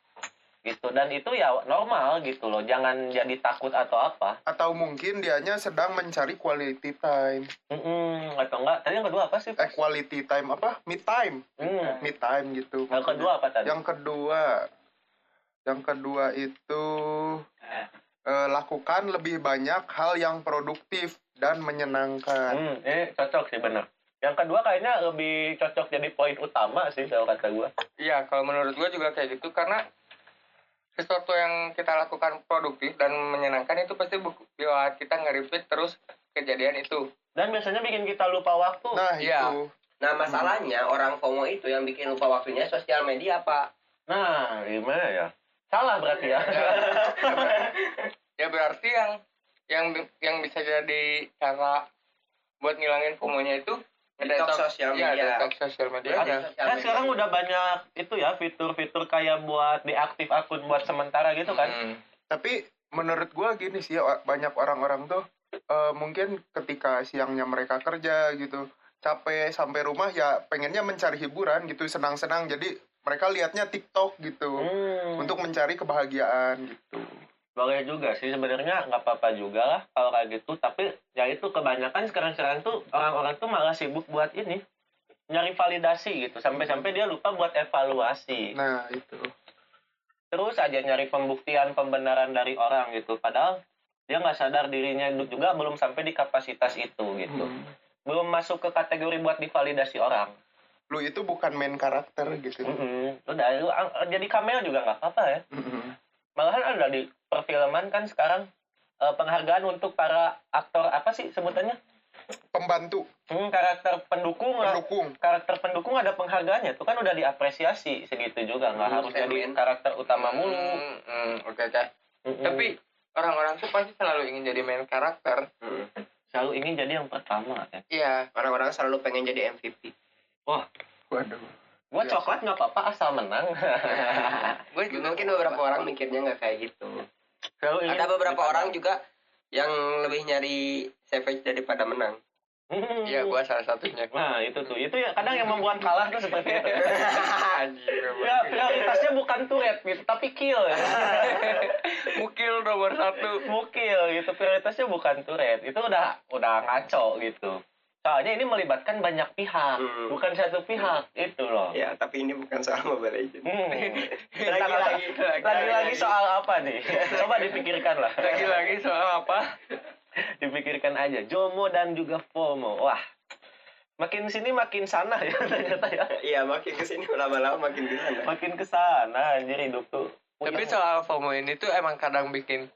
Speaker 5: gitu dan itu ya normal gitu loh jangan jadi takut atau apa
Speaker 8: Atau mungkin dianya sedang mencari quality time.
Speaker 5: Mm-mm, atau enggak tadi yang kedua apa sih
Speaker 8: Eh, quality time apa? Me time.
Speaker 5: Hmm.
Speaker 8: Me time gitu.
Speaker 5: yang kedua apa tadi
Speaker 8: Yang kedua, yang kedua itu eh, lakukan lebih banyak hal yang produktif dan menyenangkan.
Speaker 5: Hmm, ini cocok sih bener. Yang kedua kayaknya lebih cocok jadi poin utama sih kalau kata gue.
Speaker 6: Iya, kalau menurut gue juga kayak gitu karena sesuatu yang kita lakukan produktif dan menyenangkan itu pasti bu- buat kita nge-repeat terus kejadian itu.
Speaker 5: Dan biasanya bikin kita lupa waktu. Nah,
Speaker 8: Nah,
Speaker 6: Iya.
Speaker 8: itu
Speaker 7: Nah masalahnya orang FOMO itu yang bikin lupa waktunya sosial media pak.
Speaker 5: gimana ya? Salah berarti ya.
Speaker 6: Ya berarti yang yang yang bisa jadi cara buat ngilangin FOMO-nya itu
Speaker 7: Detox sosial
Speaker 6: Iya,
Speaker 7: media. Iya.
Speaker 6: detox sosial media.
Speaker 7: Sosial
Speaker 5: kan
Speaker 7: media.
Speaker 5: sekarang udah banyak itu ya fitur-fitur kayak buat diaktif akun buat sementara gitu kan.
Speaker 6: Hmm.
Speaker 8: tapi menurut gua gini sih o- banyak orang-orang tuh eh, mungkin ketika siangnya mereka kerja gitu capek sampai rumah ya pengennya mencari hiburan gitu senang-senang jadi mereka lihatnya TikTok gitu
Speaker 5: Hmm.
Speaker 8: untuk mencari kebahagiaan gitu
Speaker 5: Boleh juga sih sebenarnya nggak apa-apa juga lah kalau kayak gitu. Tapi ya itu kebanyakan sekarang-sekarang tuh orang-orang tuh malah sibuk buat ini nyari validasi gitu sampai-sampai dia lupa buat evaluasi.
Speaker 8: nah itu
Speaker 5: terus aja nyari pembuktian pembenaran dari orang gitu padahal dia nggak sadar dirinya juga belum sampai di kapasitas itu gitu
Speaker 7: Hmm.
Speaker 5: belum masuk ke kategori buat divalidasi orang
Speaker 8: lu itu bukan main karakter gitu
Speaker 5: Hmm. Mm-mm. udah lu ang- jadi cameo juga nggak apa-apa ya
Speaker 8: Mm-mm.
Speaker 5: malahan ada di perfilman kan sekarang eh, penghargaan untuk para aktor apa sih sebutannya
Speaker 8: pembantu
Speaker 5: Hmm, karakter pendukung lah.
Speaker 8: pendukung
Speaker 5: karakter pendukung ada penghargaannya itu kan udah diapresiasi segitu juga nggak harus jadi
Speaker 7: Amen.
Speaker 5: karakter utama mulu
Speaker 6: Hmm, hmm, Oke, oke.
Speaker 7: Hmm.
Speaker 5: Mm-mm.
Speaker 6: Tapi orang-orang tuh pasti selalu ingin jadi main karakter.
Speaker 5: Hmm. selalu ingin jadi yang pertama ya
Speaker 6: Iya.
Speaker 7: Orang-orang selalu pengen jadi MVP.
Speaker 8: waduh
Speaker 5: Gua coklat nggak apa-apa asal menang.
Speaker 6: Gue juga Iya.
Speaker 7: Mungkin beberapa orang mikirnya nggak kayak gitu.
Speaker 5: Selalu ingin
Speaker 7: Ada beberapa
Speaker 5: dipandang.
Speaker 7: orang juga yang lebih nyari savage daripada menang.
Speaker 5: Hmm.
Speaker 6: Iya, gue salah satunya.
Speaker 5: Nah itu tuh, itu ya kadang yang membuat kalah tuh seperti itu.
Speaker 6: Anjir, gua.
Speaker 5: ya prioritasnya bukan turret gitu, tapi kill. Ya.
Speaker 6: Mukil nomor satu.
Speaker 5: Mukil gitu, prioritasnya bukan turret. Itu udah udah ngaco gitu. Soalnya ini melibatkan banyak pihak,
Speaker 7: Hmm.
Speaker 5: bukan satu pihak itu loh.
Speaker 7: Ya, tapi ini bukan soal Mobile Legends.
Speaker 5: Hmm.
Speaker 7: Iya.
Speaker 5: Tentang apa?
Speaker 6: Lagi-lagi.
Speaker 5: Lagi-lagi soal apa nih? Coba dipikirkan lah.
Speaker 6: Lagi-lagi soal apa?
Speaker 5: dipikirkan aja Jomo dan juga FOMO wah makin sini makin sana ya ternyata ya
Speaker 7: Iya, makin kesini lama-lama makin gila.
Speaker 5: makin kesana anjir hidup tuh
Speaker 6: Tapi soal FOMO ini tuh emang kadang bikin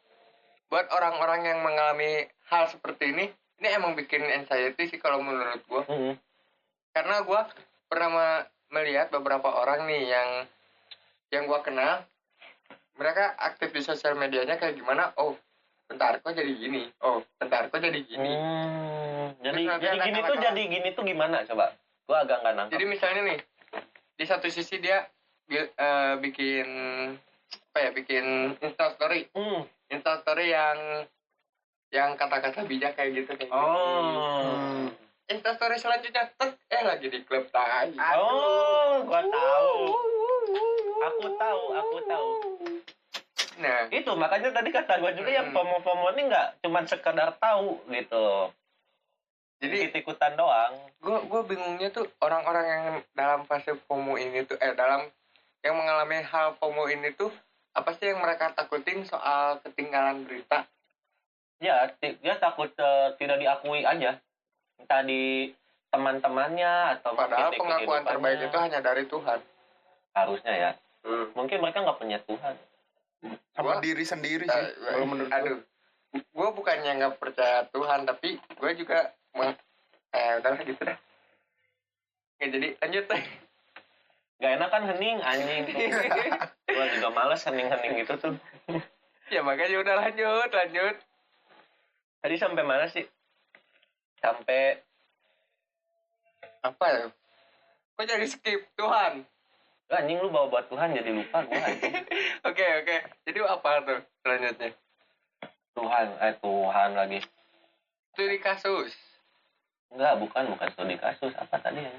Speaker 6: buat orang-orang yang mengalami hal seperti ini, ini emang bikin anxiety sih kalau menurut gua.
Speaker 5: Mm-mm.
Speaker 6: Karena gua pernah me- melihat beberapa orang nih yang yang gua kenal, mereka aktif di sosial medianya kayak gimana? Oh, bentar kok jadi gini. Oh, bentar kok jadi gini.
Speaker 5: Hmm, jadi
Speaker 6: Terus nanti
Speaker 5: jadi
Speaker 6: akan
Speaker 5: gini tuh
Speaker 6: kalah-kalah.
Speaker 5: jadi gini tuh gimana coba gua agak nggak nangkep
Speaker 6: Jadi misalnya nih, di satu sisi dia bi- eh, bikin apa ya? Bikin Insta story
Speaker 5: Hmm.
Speaker 6: instastory yang yang kata-kata bijak kayak gitu kayak gitu.
Speaker 5: oh
Speaker 6: instastory selanjutnya tek, eh lagi di klub tai
Speaker 5: Ah. oh gua tahu aku tahu aku tahu
Speaker 6: Nah,
Speaker 5: itu makanya tadi kata gue juga yang
Speaker 6: Hmm.
Speaker 5: FOMO-FOMO ini nggak cuman sekedar tahu gitu
Speaker 6: jadi
Speaker 5: ikut ikutan doang
Speaker 6: gue gue bingungnya tuh orang-orang yang dalam fase FOMO ini tuh eh dalam yang mengalami hal FOMO ini tuh apa sih yang mereka takutin soal ketinggalan berita
Speaker 5: ya ti- dia takut eh, tidak diakui aja entah di teman-temannya atau
Speaker 6: padahal
Speaker 5: mungkin di
Speaker 6: pengakuan
Speaker 5: kehidupannya.
Speaker 6: terbaik itu hanya dari Tuhan
Speaker 5: harusnya ya
Speaker 7: Hmm.
Speaker 5: mungkin mereka nggak punya Tuhan
Speaker 8: sama
Speaker 6: Gua-
Speaker 8: diri sendiri sih kalau
Speaker 6: Eh,
Speaker 8: menurut gua.
Speaker 6: aduh gue bukannya nggak percaya Tuhan tapi gue juga meng eh udah gitu deh Oke, jadi lanjut deh
Speaker 5: nggak enak kan hening anjing gue juga males hening-hening gitu tuh
Speaker 6: ya makanya udah lanjut lanjut
Speaker 5: tadi sampai mana sih sampai
Speaker 6: apa ya kok jadi skip Tuhan
Speaker 5: Lu anjing lu bawa buat Tuhan jadi lupa gue
Speaker 6: oke oke jadi apa tuh selanjutnya
Speaker 5: Tuhan eh Tuhan lagi
Speaker 6: studi kasus
Speaker 5: enggak bukan bukan studi kasus apa tadi ya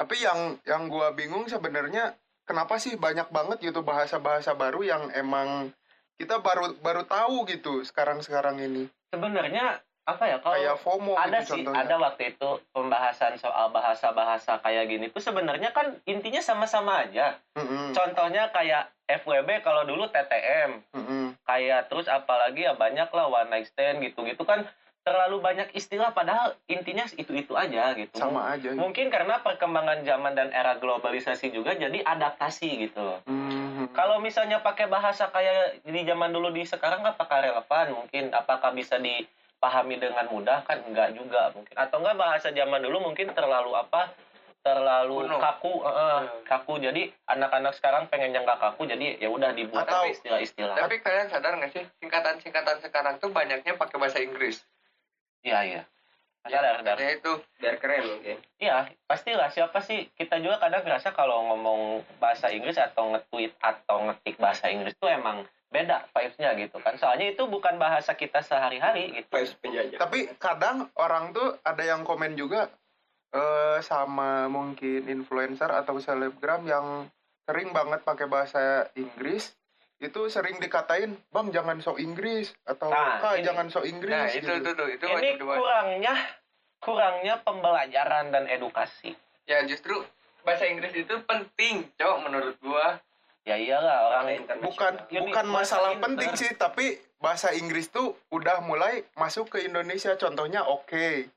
Speaker 8: tapi yang yang gua bingung sebenarnya kenapa sih banyak banget gitu bahasa-bahasa baru yang emang kita baru baru tahu gitu sekarang-sekarang ini
Speaker 5: sebenarnya apa ya kalau
Speaker 8: kayak FOMO
Speaker 5: ada
Speaker 8: gitu
Speaker 5: sih
Speaker 8: contohnya
Speaker 5: ada waktu itu pembahasan soal bahasa-bahasa kayak gini tuh sebenarnya kan intinya sama-sama aja
Speaker 8: Mm-mm,
Speaker 5: contohnya kayak FWB kalau dulu TTM
Speaker 8: mm-mm.
Speaker 5: kayak terus apalagi ya banyak lah one night stand gitu-gitu kan terlalu banyak istilah padahal intinya itu-itu aja gitu
Speaker 8: sama aja gitu.
Speaker 5: mungkin karena perkembangan zaman dan era globalisasi juga jadi adaptasi gitu loh
Speaker 8: Mm-mm.
Speaker 5: kalau misalnya pakai bahasa kayak di zaman dulu di sekarang apakah relevan mungkin apakah bisa dipahami dengan mudah kan enggak juga mungkin atau enggak bahasa zaman dulu mungkin terlalu apa terlalu
Speaker 6: Kuno.
Speaker 5: kaku eh, eh, kaku jadi anak-anak sekarang pengen yang nggak kaku jadi ya udah dibuat
Speaker 8: Atau-
Speaker 5: aja istilah-istilah
Speaker 6: tapi kalian sadar nggak sih singkatan-singkatan sekarang tuh banyaknya pakai bahasa Inggris
Speaker 5: iya iya sadar sadar
Speaker 6: Makanya itu
Speaker 7: biar keren mungkin
Speaker 5: iya pastilah siapa sih kita juga kadang ngerasa kalau ngomong bahasa Inggris atau nge-tweet atau ngetik bahasa Inggris tuh emang beda vibes-nya gitu kan soalnya itu bukan bahasa kita sehari-hari gitu
Speaker 7: vibes penjajah
Speaker 8: tapi kadang orang tuh ada yang komen juga eh sama mungkin influencer atau selebgram yang sering banget pakai bahasa Inggris itu sering dikatain bang jangan sok Inggris atau
Speaker 5: Nah,
Speaker 8: kak
Speaker 5: ini-
Speaker 8: jangan sok Inggris
Speaker 6: nah itu
Speaker 8: gitu.
Speaker 6: itu tuh itu
Speaker 5: ini
Speaker 6: wajib dibuat.
Speaker 5: kurangnya kurangnya pembelajaran dan edukasi
Speaker 6: ya justru bahasa Inggris itu penting cok menurut gua
Speaker 5: ya iyalah orang
Speaker 8: bukan
Speaker 5: Ini
Speaker 8: bukan
Speaker 5: bahasa
Speaker 8: masalah
Speaker 5: Inter.
Speaker 8: penting sih tapi bahasa Inggris tuh udah mulai masuk ke Indonesia contohnya oke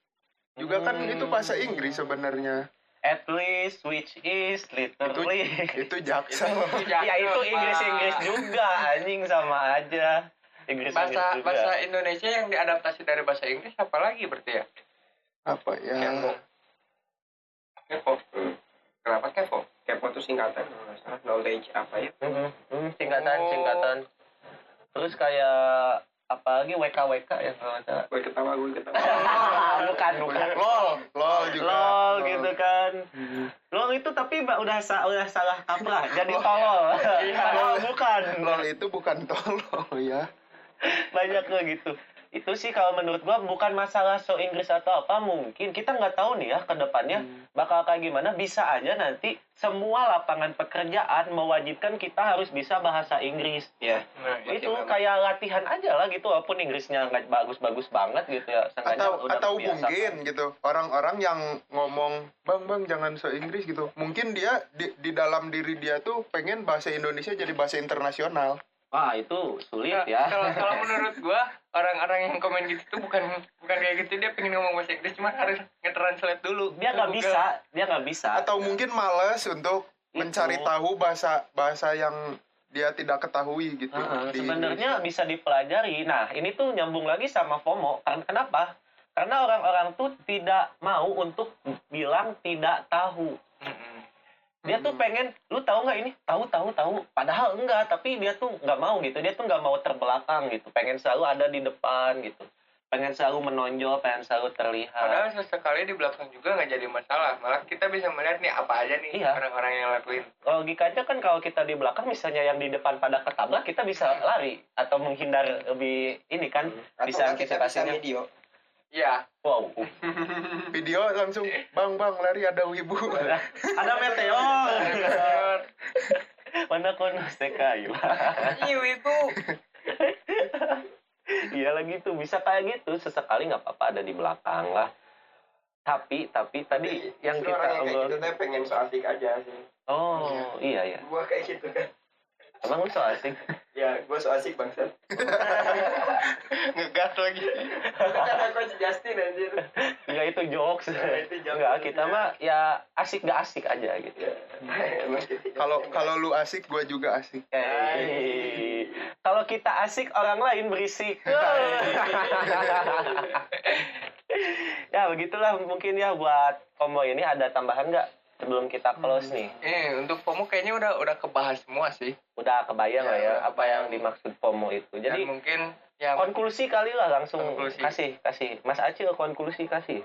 Speaker 8: juga kan
Speaker 5: Hmm.
Speaker 8: itu bahasa Inggris sebenarnya
Speaker 5: at least which is literally
Speaker 8: itu jaksa
Speaker 5: ya itu Inggris Inggris juga anjing sama aja Inggris
Speaker 6: bahasa
Speaker 5: Inggris juga
Speaker 6: bahasa Indonesia yang diadaptasi dari bahasa Inggris apa lagi berarti ya
Speaker 8: apa ya
Speaker 6: kepo kepo kenapa kepo
Speaker 7: kepo itu singkatan kalau nggak salah. knowledge apa ya
Speaker 5: Mm-mm. Mm, singkatan singkatan terus kayak apalagi WK WK ya kalau nggak salah
Speaker 7: gue ketawa gue ketawa
Speaker 5: Ah, bukan bukan
Speaker 8: lol lol Hmm. juga
Speaker 5: lol gitu kan lol itu tapi ba- udah sa- udah salah kaprah jadi tolol Padahal bukan
Speaker 8: Oh, iya. lol itu bukan tolol ya
Speaker 6: Nah,
Speaker 5: banyak loh gitu itu sih kalau menurut gua bukan masalah so Inggris atau apa mungkin kita nggak tahu nih ya ke depannya
Speaker 8: Hmm.
Speaker 5: bakal kayak gimana bisa aja nanti semua lapangan pekerjaan mewajibkan kita harus bisa bahasa Inggris
Speaker 8: Iya.
Speaker 5: ya
Speaker 6: nah
Speaker 5: itu kayak latihan aja lah gitu walaupun Inggrisnya nggak bagus-bagus banget gitu ya seenggaknya
Speaker 8: atau
Speaker 5: udah kan.
Speaker 8: atau
Speaker 5: kebiasaan.
Speaker 8: mungkin gitu orang-orang yang ngomong bang bang jangan so Inggris gitu mungkin dia di, di dalam diri dia tuh pengen bahasa Indonesia jadi bahasa internasional
Speaker 5: wah itu sulit
Speaker 6: Nah,
Speaker 5: ya
Speaker 6: kalau kalau menurut gua orang-orang yang komen gitu tuh bukan bukan kayak gitu dia pengen ngomong bahasa Inggris cuma harus nge-translate dulu
Speaker 5: dia nggak bisa dia nggak bisa
Speaker 8: atau mungkin males untuk mencari
Speaker 5: Itu.
Speaker 8: tahu bahasa bahasa yang dia tidak ketahui gitu
Speaker 5: Heeh,
Speaker 8: di
Speaker 5: sebenarnya
Speaker 8: Indonesia.
Speaker 5: bisa dipelajari. Nah, ini tuh nyambung lagi sama FOMO. Karena kenapa? Karena orang-orang tuh tidak mau untuk bilang tidak tahu.
Speaker 6: Mm-mm.
Speaker 5: Dia tuh pengen, lu tahu nggak ini? Tahu, tahu, tahu. Padahal enggak, tapi dia tuh nggak mau gitu. Dia tuh nggak mau terbelakang gitu. Pengen selalu ada di depan gitu. Pengen selalu menonjol, pengen selalu terlihat.
Speaker 6: Padahal sesekali di belakang juga nggak jadi masalah. Malah kita bisa melihat nih apa aja nih
Speaker 5: Iya.
Speaker 6: orang-orang yang lakuin.
Speaker 5: Logikanya kan kalau kita di belakang, misalnya yang di depan pada ketabrak, kita bisa lari atau menghindar lebih ini kan.
Speaker 7: Hmm. atau
Speaker 5: Bisa
Speaker 7: nggak kita bisa
Speaker 5: antisipasinya.
Speaker 7: video
Speaker 6: Iya.
Speaker 5: Wow,
Speaker 8: video langsung bang bang lari ada wibu
Speaker 5: ada meteor. Mana kono sekayu.
Speaker 6: Iwi itu
Speaker 5: Iya lagi tuh bisa kayak gitu sesekali nggak apa-apa ada di belakang lah. Tapi tapi
Speaker 6: Iya.
Speaker 5: tadi yang
Speaker 7: Justru
Speaker 5: kita
Speaker 7: orang yang Iya, kayak
Speaker 5: obrol-
Speaker 7: gitu teh pengen so asik aja sih
Speaker 5: Oh iya iya.
Speaker 7: gua kayak gitu kan
Speaker 5: Emang lu so asik.
Speaker 7: ya gua so asik bangsat
Speaker 8: Ngegas lagi.
Speaker 7: itu kata coach Justin anjir
Speaker 5: Enggak itu jokes.
Speaker 7: Ya, itu jokes. Iya.
Speaker 5: Enggak kita mah ya asik nggak asik aja gitu.
Speaker 7: Emang gitu.
Speaker 8: Kalau kalau lu asik, gua juga asik.
Speaker 5: Hey. Kalau kita asik, orang lain berisik. ya begitulah mungkin ya buat combo ini ada tambahan nggak sebelum kita close nih?
Speaker 6: Eh, untuk FOMO kayaknya udah udah kebahas semua sih.
Speaker 5: Udah kebayang lah ya apa yang dimaksud pomo itu.
Speaker 6: Dan
Speaker 5: Jadi oh,
Speaker 6: mungkin ya
Speaker 5: konklusi kali lah langsung
Speaker 6: Konklusi.
Speaker 5: kasih kasih. Mas Acil konklusi kasih.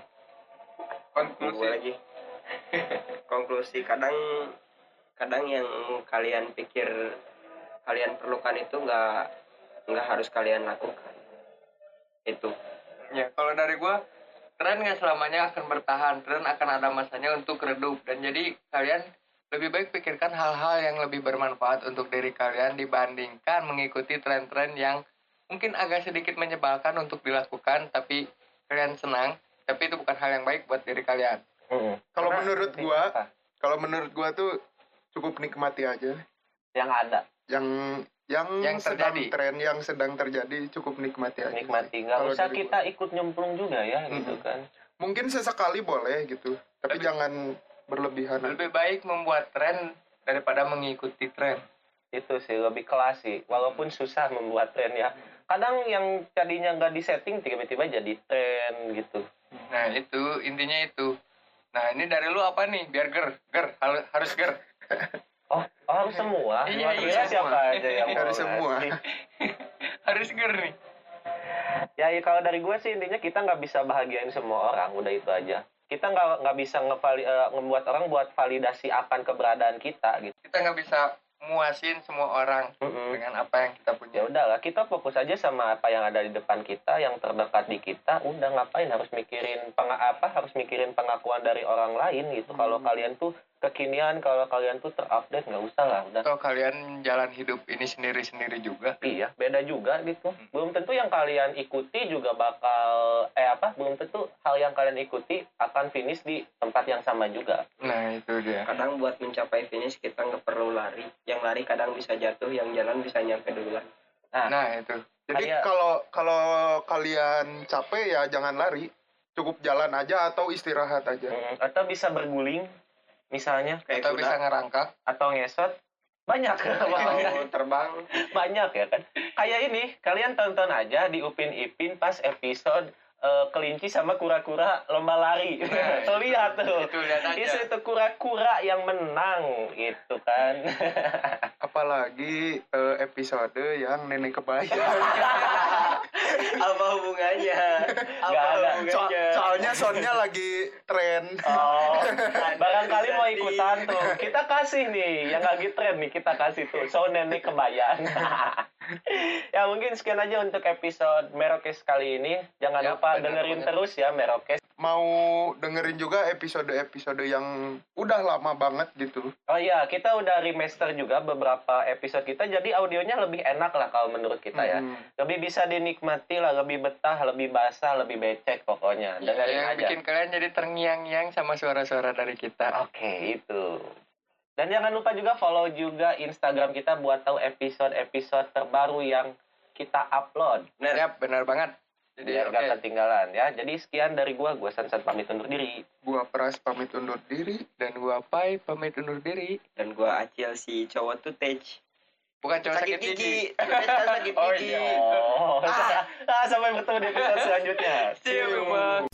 Speaker 7: Gua
Speaker 6: konklusi.
Speaker 7: lagi konklusi kadang kadang yang kalian pikir kalian perlukan itu nggak nggak harus kalian lakukan itu
Speaker 6: Ya, kalau dari gua tren nggak selamanya akan bertahan, tren akan ada masanya untuk redup dan jadi kalian lebih baik pikirkan hal-hal yang lebih bermanfaat untuk diri kalian dibandingkan mengikuti tren-tren yang mungkin agak sedikit menyebalkan Kan untuk dilakukan tapi kalian senang, tapi itu bukan hal yang baik buat diri kalian.
Speaker 8: Kalau
Speaker 5: Karena
Speaker 8: menurut
Speaker 5: penting
Speaker 8: gua,
Speaker 5: apa?
Speaker 8: kalau menurut gua tuh cukup nikmati aja
Speaker 5: yang ada
Speaker 8: yang yang,
Speaker 6: Yang
Speaker 8: sedang
Speaker 6: terjadi.
Speaker 8: tren yang sedang terjadi cukup nikmati aja.
Speaker 5: nikmati. Nggak
Speaker 8: Kalau
Speaker 5: usah
Speaker 8: dari
Speaker 5: kita ikut nyemplung juga ya
Speaker 8: Mhm.
Speaker 5: gitu kan.
Speaker 8: Mungkin sesekali boleh gitu, tapi
Speaker 6: Lebih-
Speaker 8: jangan berlebihan.
Speaker 6: Lebih baik membuat tren daripada mengikuti tren.
Speaker 5: itu sih lebih kelas sih
Speaker 6: Hmm.
Speaker 5: walaupun susah membuat tren ya kadang yang tadinya nggak disetting tiba-tiba jadi tren gitu
Speaker 6: Nah, itu intinya itu. Nah, ini dari lu apa nih? Biar ger, ger, hal- harus ger.
Speaker 5: oh, oh harus semua
Speaker 6: Iya,
Speaker 5: Wah,
Speaker 6: iya,
Speaker 5: kira siapa
Speaker 6: semua.
Speaker 5: aja yang mau
Speaker 8: Harus semua.
Speaker 5: ngasih.
Speaker 6: harus ger nih.
Speaker 5: ya ya, kalau dari gue sih intinya kita nggak bisa bahagiain semua orang udah itu aja kita nggak nggak bisa ngevali, eh, ngebuat orang buat validasi akan keberadaan kita gitu
Speaker 6: Kita nggak bisa muasin semua orang
Speaker 5: Mm-mm.
Speaker 6: dengan apa yang kita punya.
Speaker 5: ya udahlah kita fokus aja sama apa yang ada di depan kita yang terdekat di kita udah ngapain harus mikirin penga apa harus mikirin pengakuan dari orang lain gitu kalau kalian tuh kekinian kalau kalian tuh terupdate nggak usah lah udah
Speaker 6: Atau kalian jalan hidup ini sendiri-sendiri juga.
Speaker 5: iya beda juga gitu belum tentu yang kalian ikuti juga bakal eh apa belum tentu hal yang kalian ikuti akan finish di tempat yang sama juga
Speaker 6: Nah, itu dia.
Speaker 7: kadang buat mencapai finish kita nggak perlu lari yang lari kadang bisa jatuh yang jalan bisa nyampe duluan
Speaker 6: Nah, itu.
Speaker 8: Jadi
Speaker 5: Kayak-
Speaker 8: kalau kalau kalian capek ya jangan lari, cukup jalan aja atau istirahat aja.
Speaker 5: Mm, atau bisa berguling misalnya
Speaker 7: kayak
Speaker 6: Kita bisa
Speaker 7: kuda
Speaker 6: ngerangkak.
Speaker 5: atau ngesot banyak
Speaker 7: mau terbang
Speaker 5: banyak ya kan kayak ini kalian tonton aja di Upin Ipin pas episode eh, kelinci sama kura-kura lomba lari
Speaker 6: Nah,
Speaker 5: tuh lihat tuh
Speaker 6: Itu lihat
Speaker 5: itu
Speaker 6: aja.
Speaker 5: itu kura-kura yang menang gitu kan
Speaker 8: Apalagi eh, episode yang nenek kebaya.
Speaker 7: apa hubungannya apa
Speaker 5: Nggak ada.
Speaker 8: So-
Speaker 7: hubungannya
Speaker 8: soalnya soundnya lagi tren.
Speaker 5: oh barangkali mau
Speaker 7: Jadi-
Speaker 5: ikutan tuh kita kasih nih yang lagi tren nih kita kasih tuh so nenek kebayang ya mungkin sekian aja untuk episode Merokes kali ini jangan
Speaker 6: Ya, benar
Speaker 5: lupa dengerin
Speaker 6: banget.
Speaker 5: terus ya Merokes
Speaker 8: Mau dengerin juga episode-episode yang udah lama banget gitu.
Speaker 5: Oh iya, kita udah remaster juga beberapa episode kita, jadi audionya lebih enak lah kalau menurut
Speaker 7: Nah,
Speaker 5: kita ya.
Speaker 8: Hmm.
Speaker 5: Lebih bisa dinikmati lah, lebih betah, lebih basah, lebih becek pokoknya. Dengerin
Speaker 6: Iya, Yang
Speaker 5: aja.
Speaker 6: bikin kalian jadi terngiang-ngiang sama suara-suara dari
Speaker 7: Ah,
Speaker 6: kita.
Speaker 5: Oke, itu. Dan jangan lupa juga follow juga Instagram kita buat tahu episode-episode terbaru yang kita upload.
Speaker 6: Yap, benar banget. Jadi, oke.
Speaker 5: Biar nggak ketinggalan ya. Jadi sekian dari gua, gua Sansan pamit undur diri.
Speaker 8: Gua Pras pamit undur diri.
Speaker 6: Dan gua Pai, pamit undur diri.
Speaker 7: dan gua acil si cowok tuh tej
Speaker 6: Bukan cuma sakit, gigi. iya.
Speaker 7: Tej kan sakit gigi
Speaker 5: Oh, ah, sampai Oh. bertemu di episode selanjutnya.
Speaker 6: See you, everyone.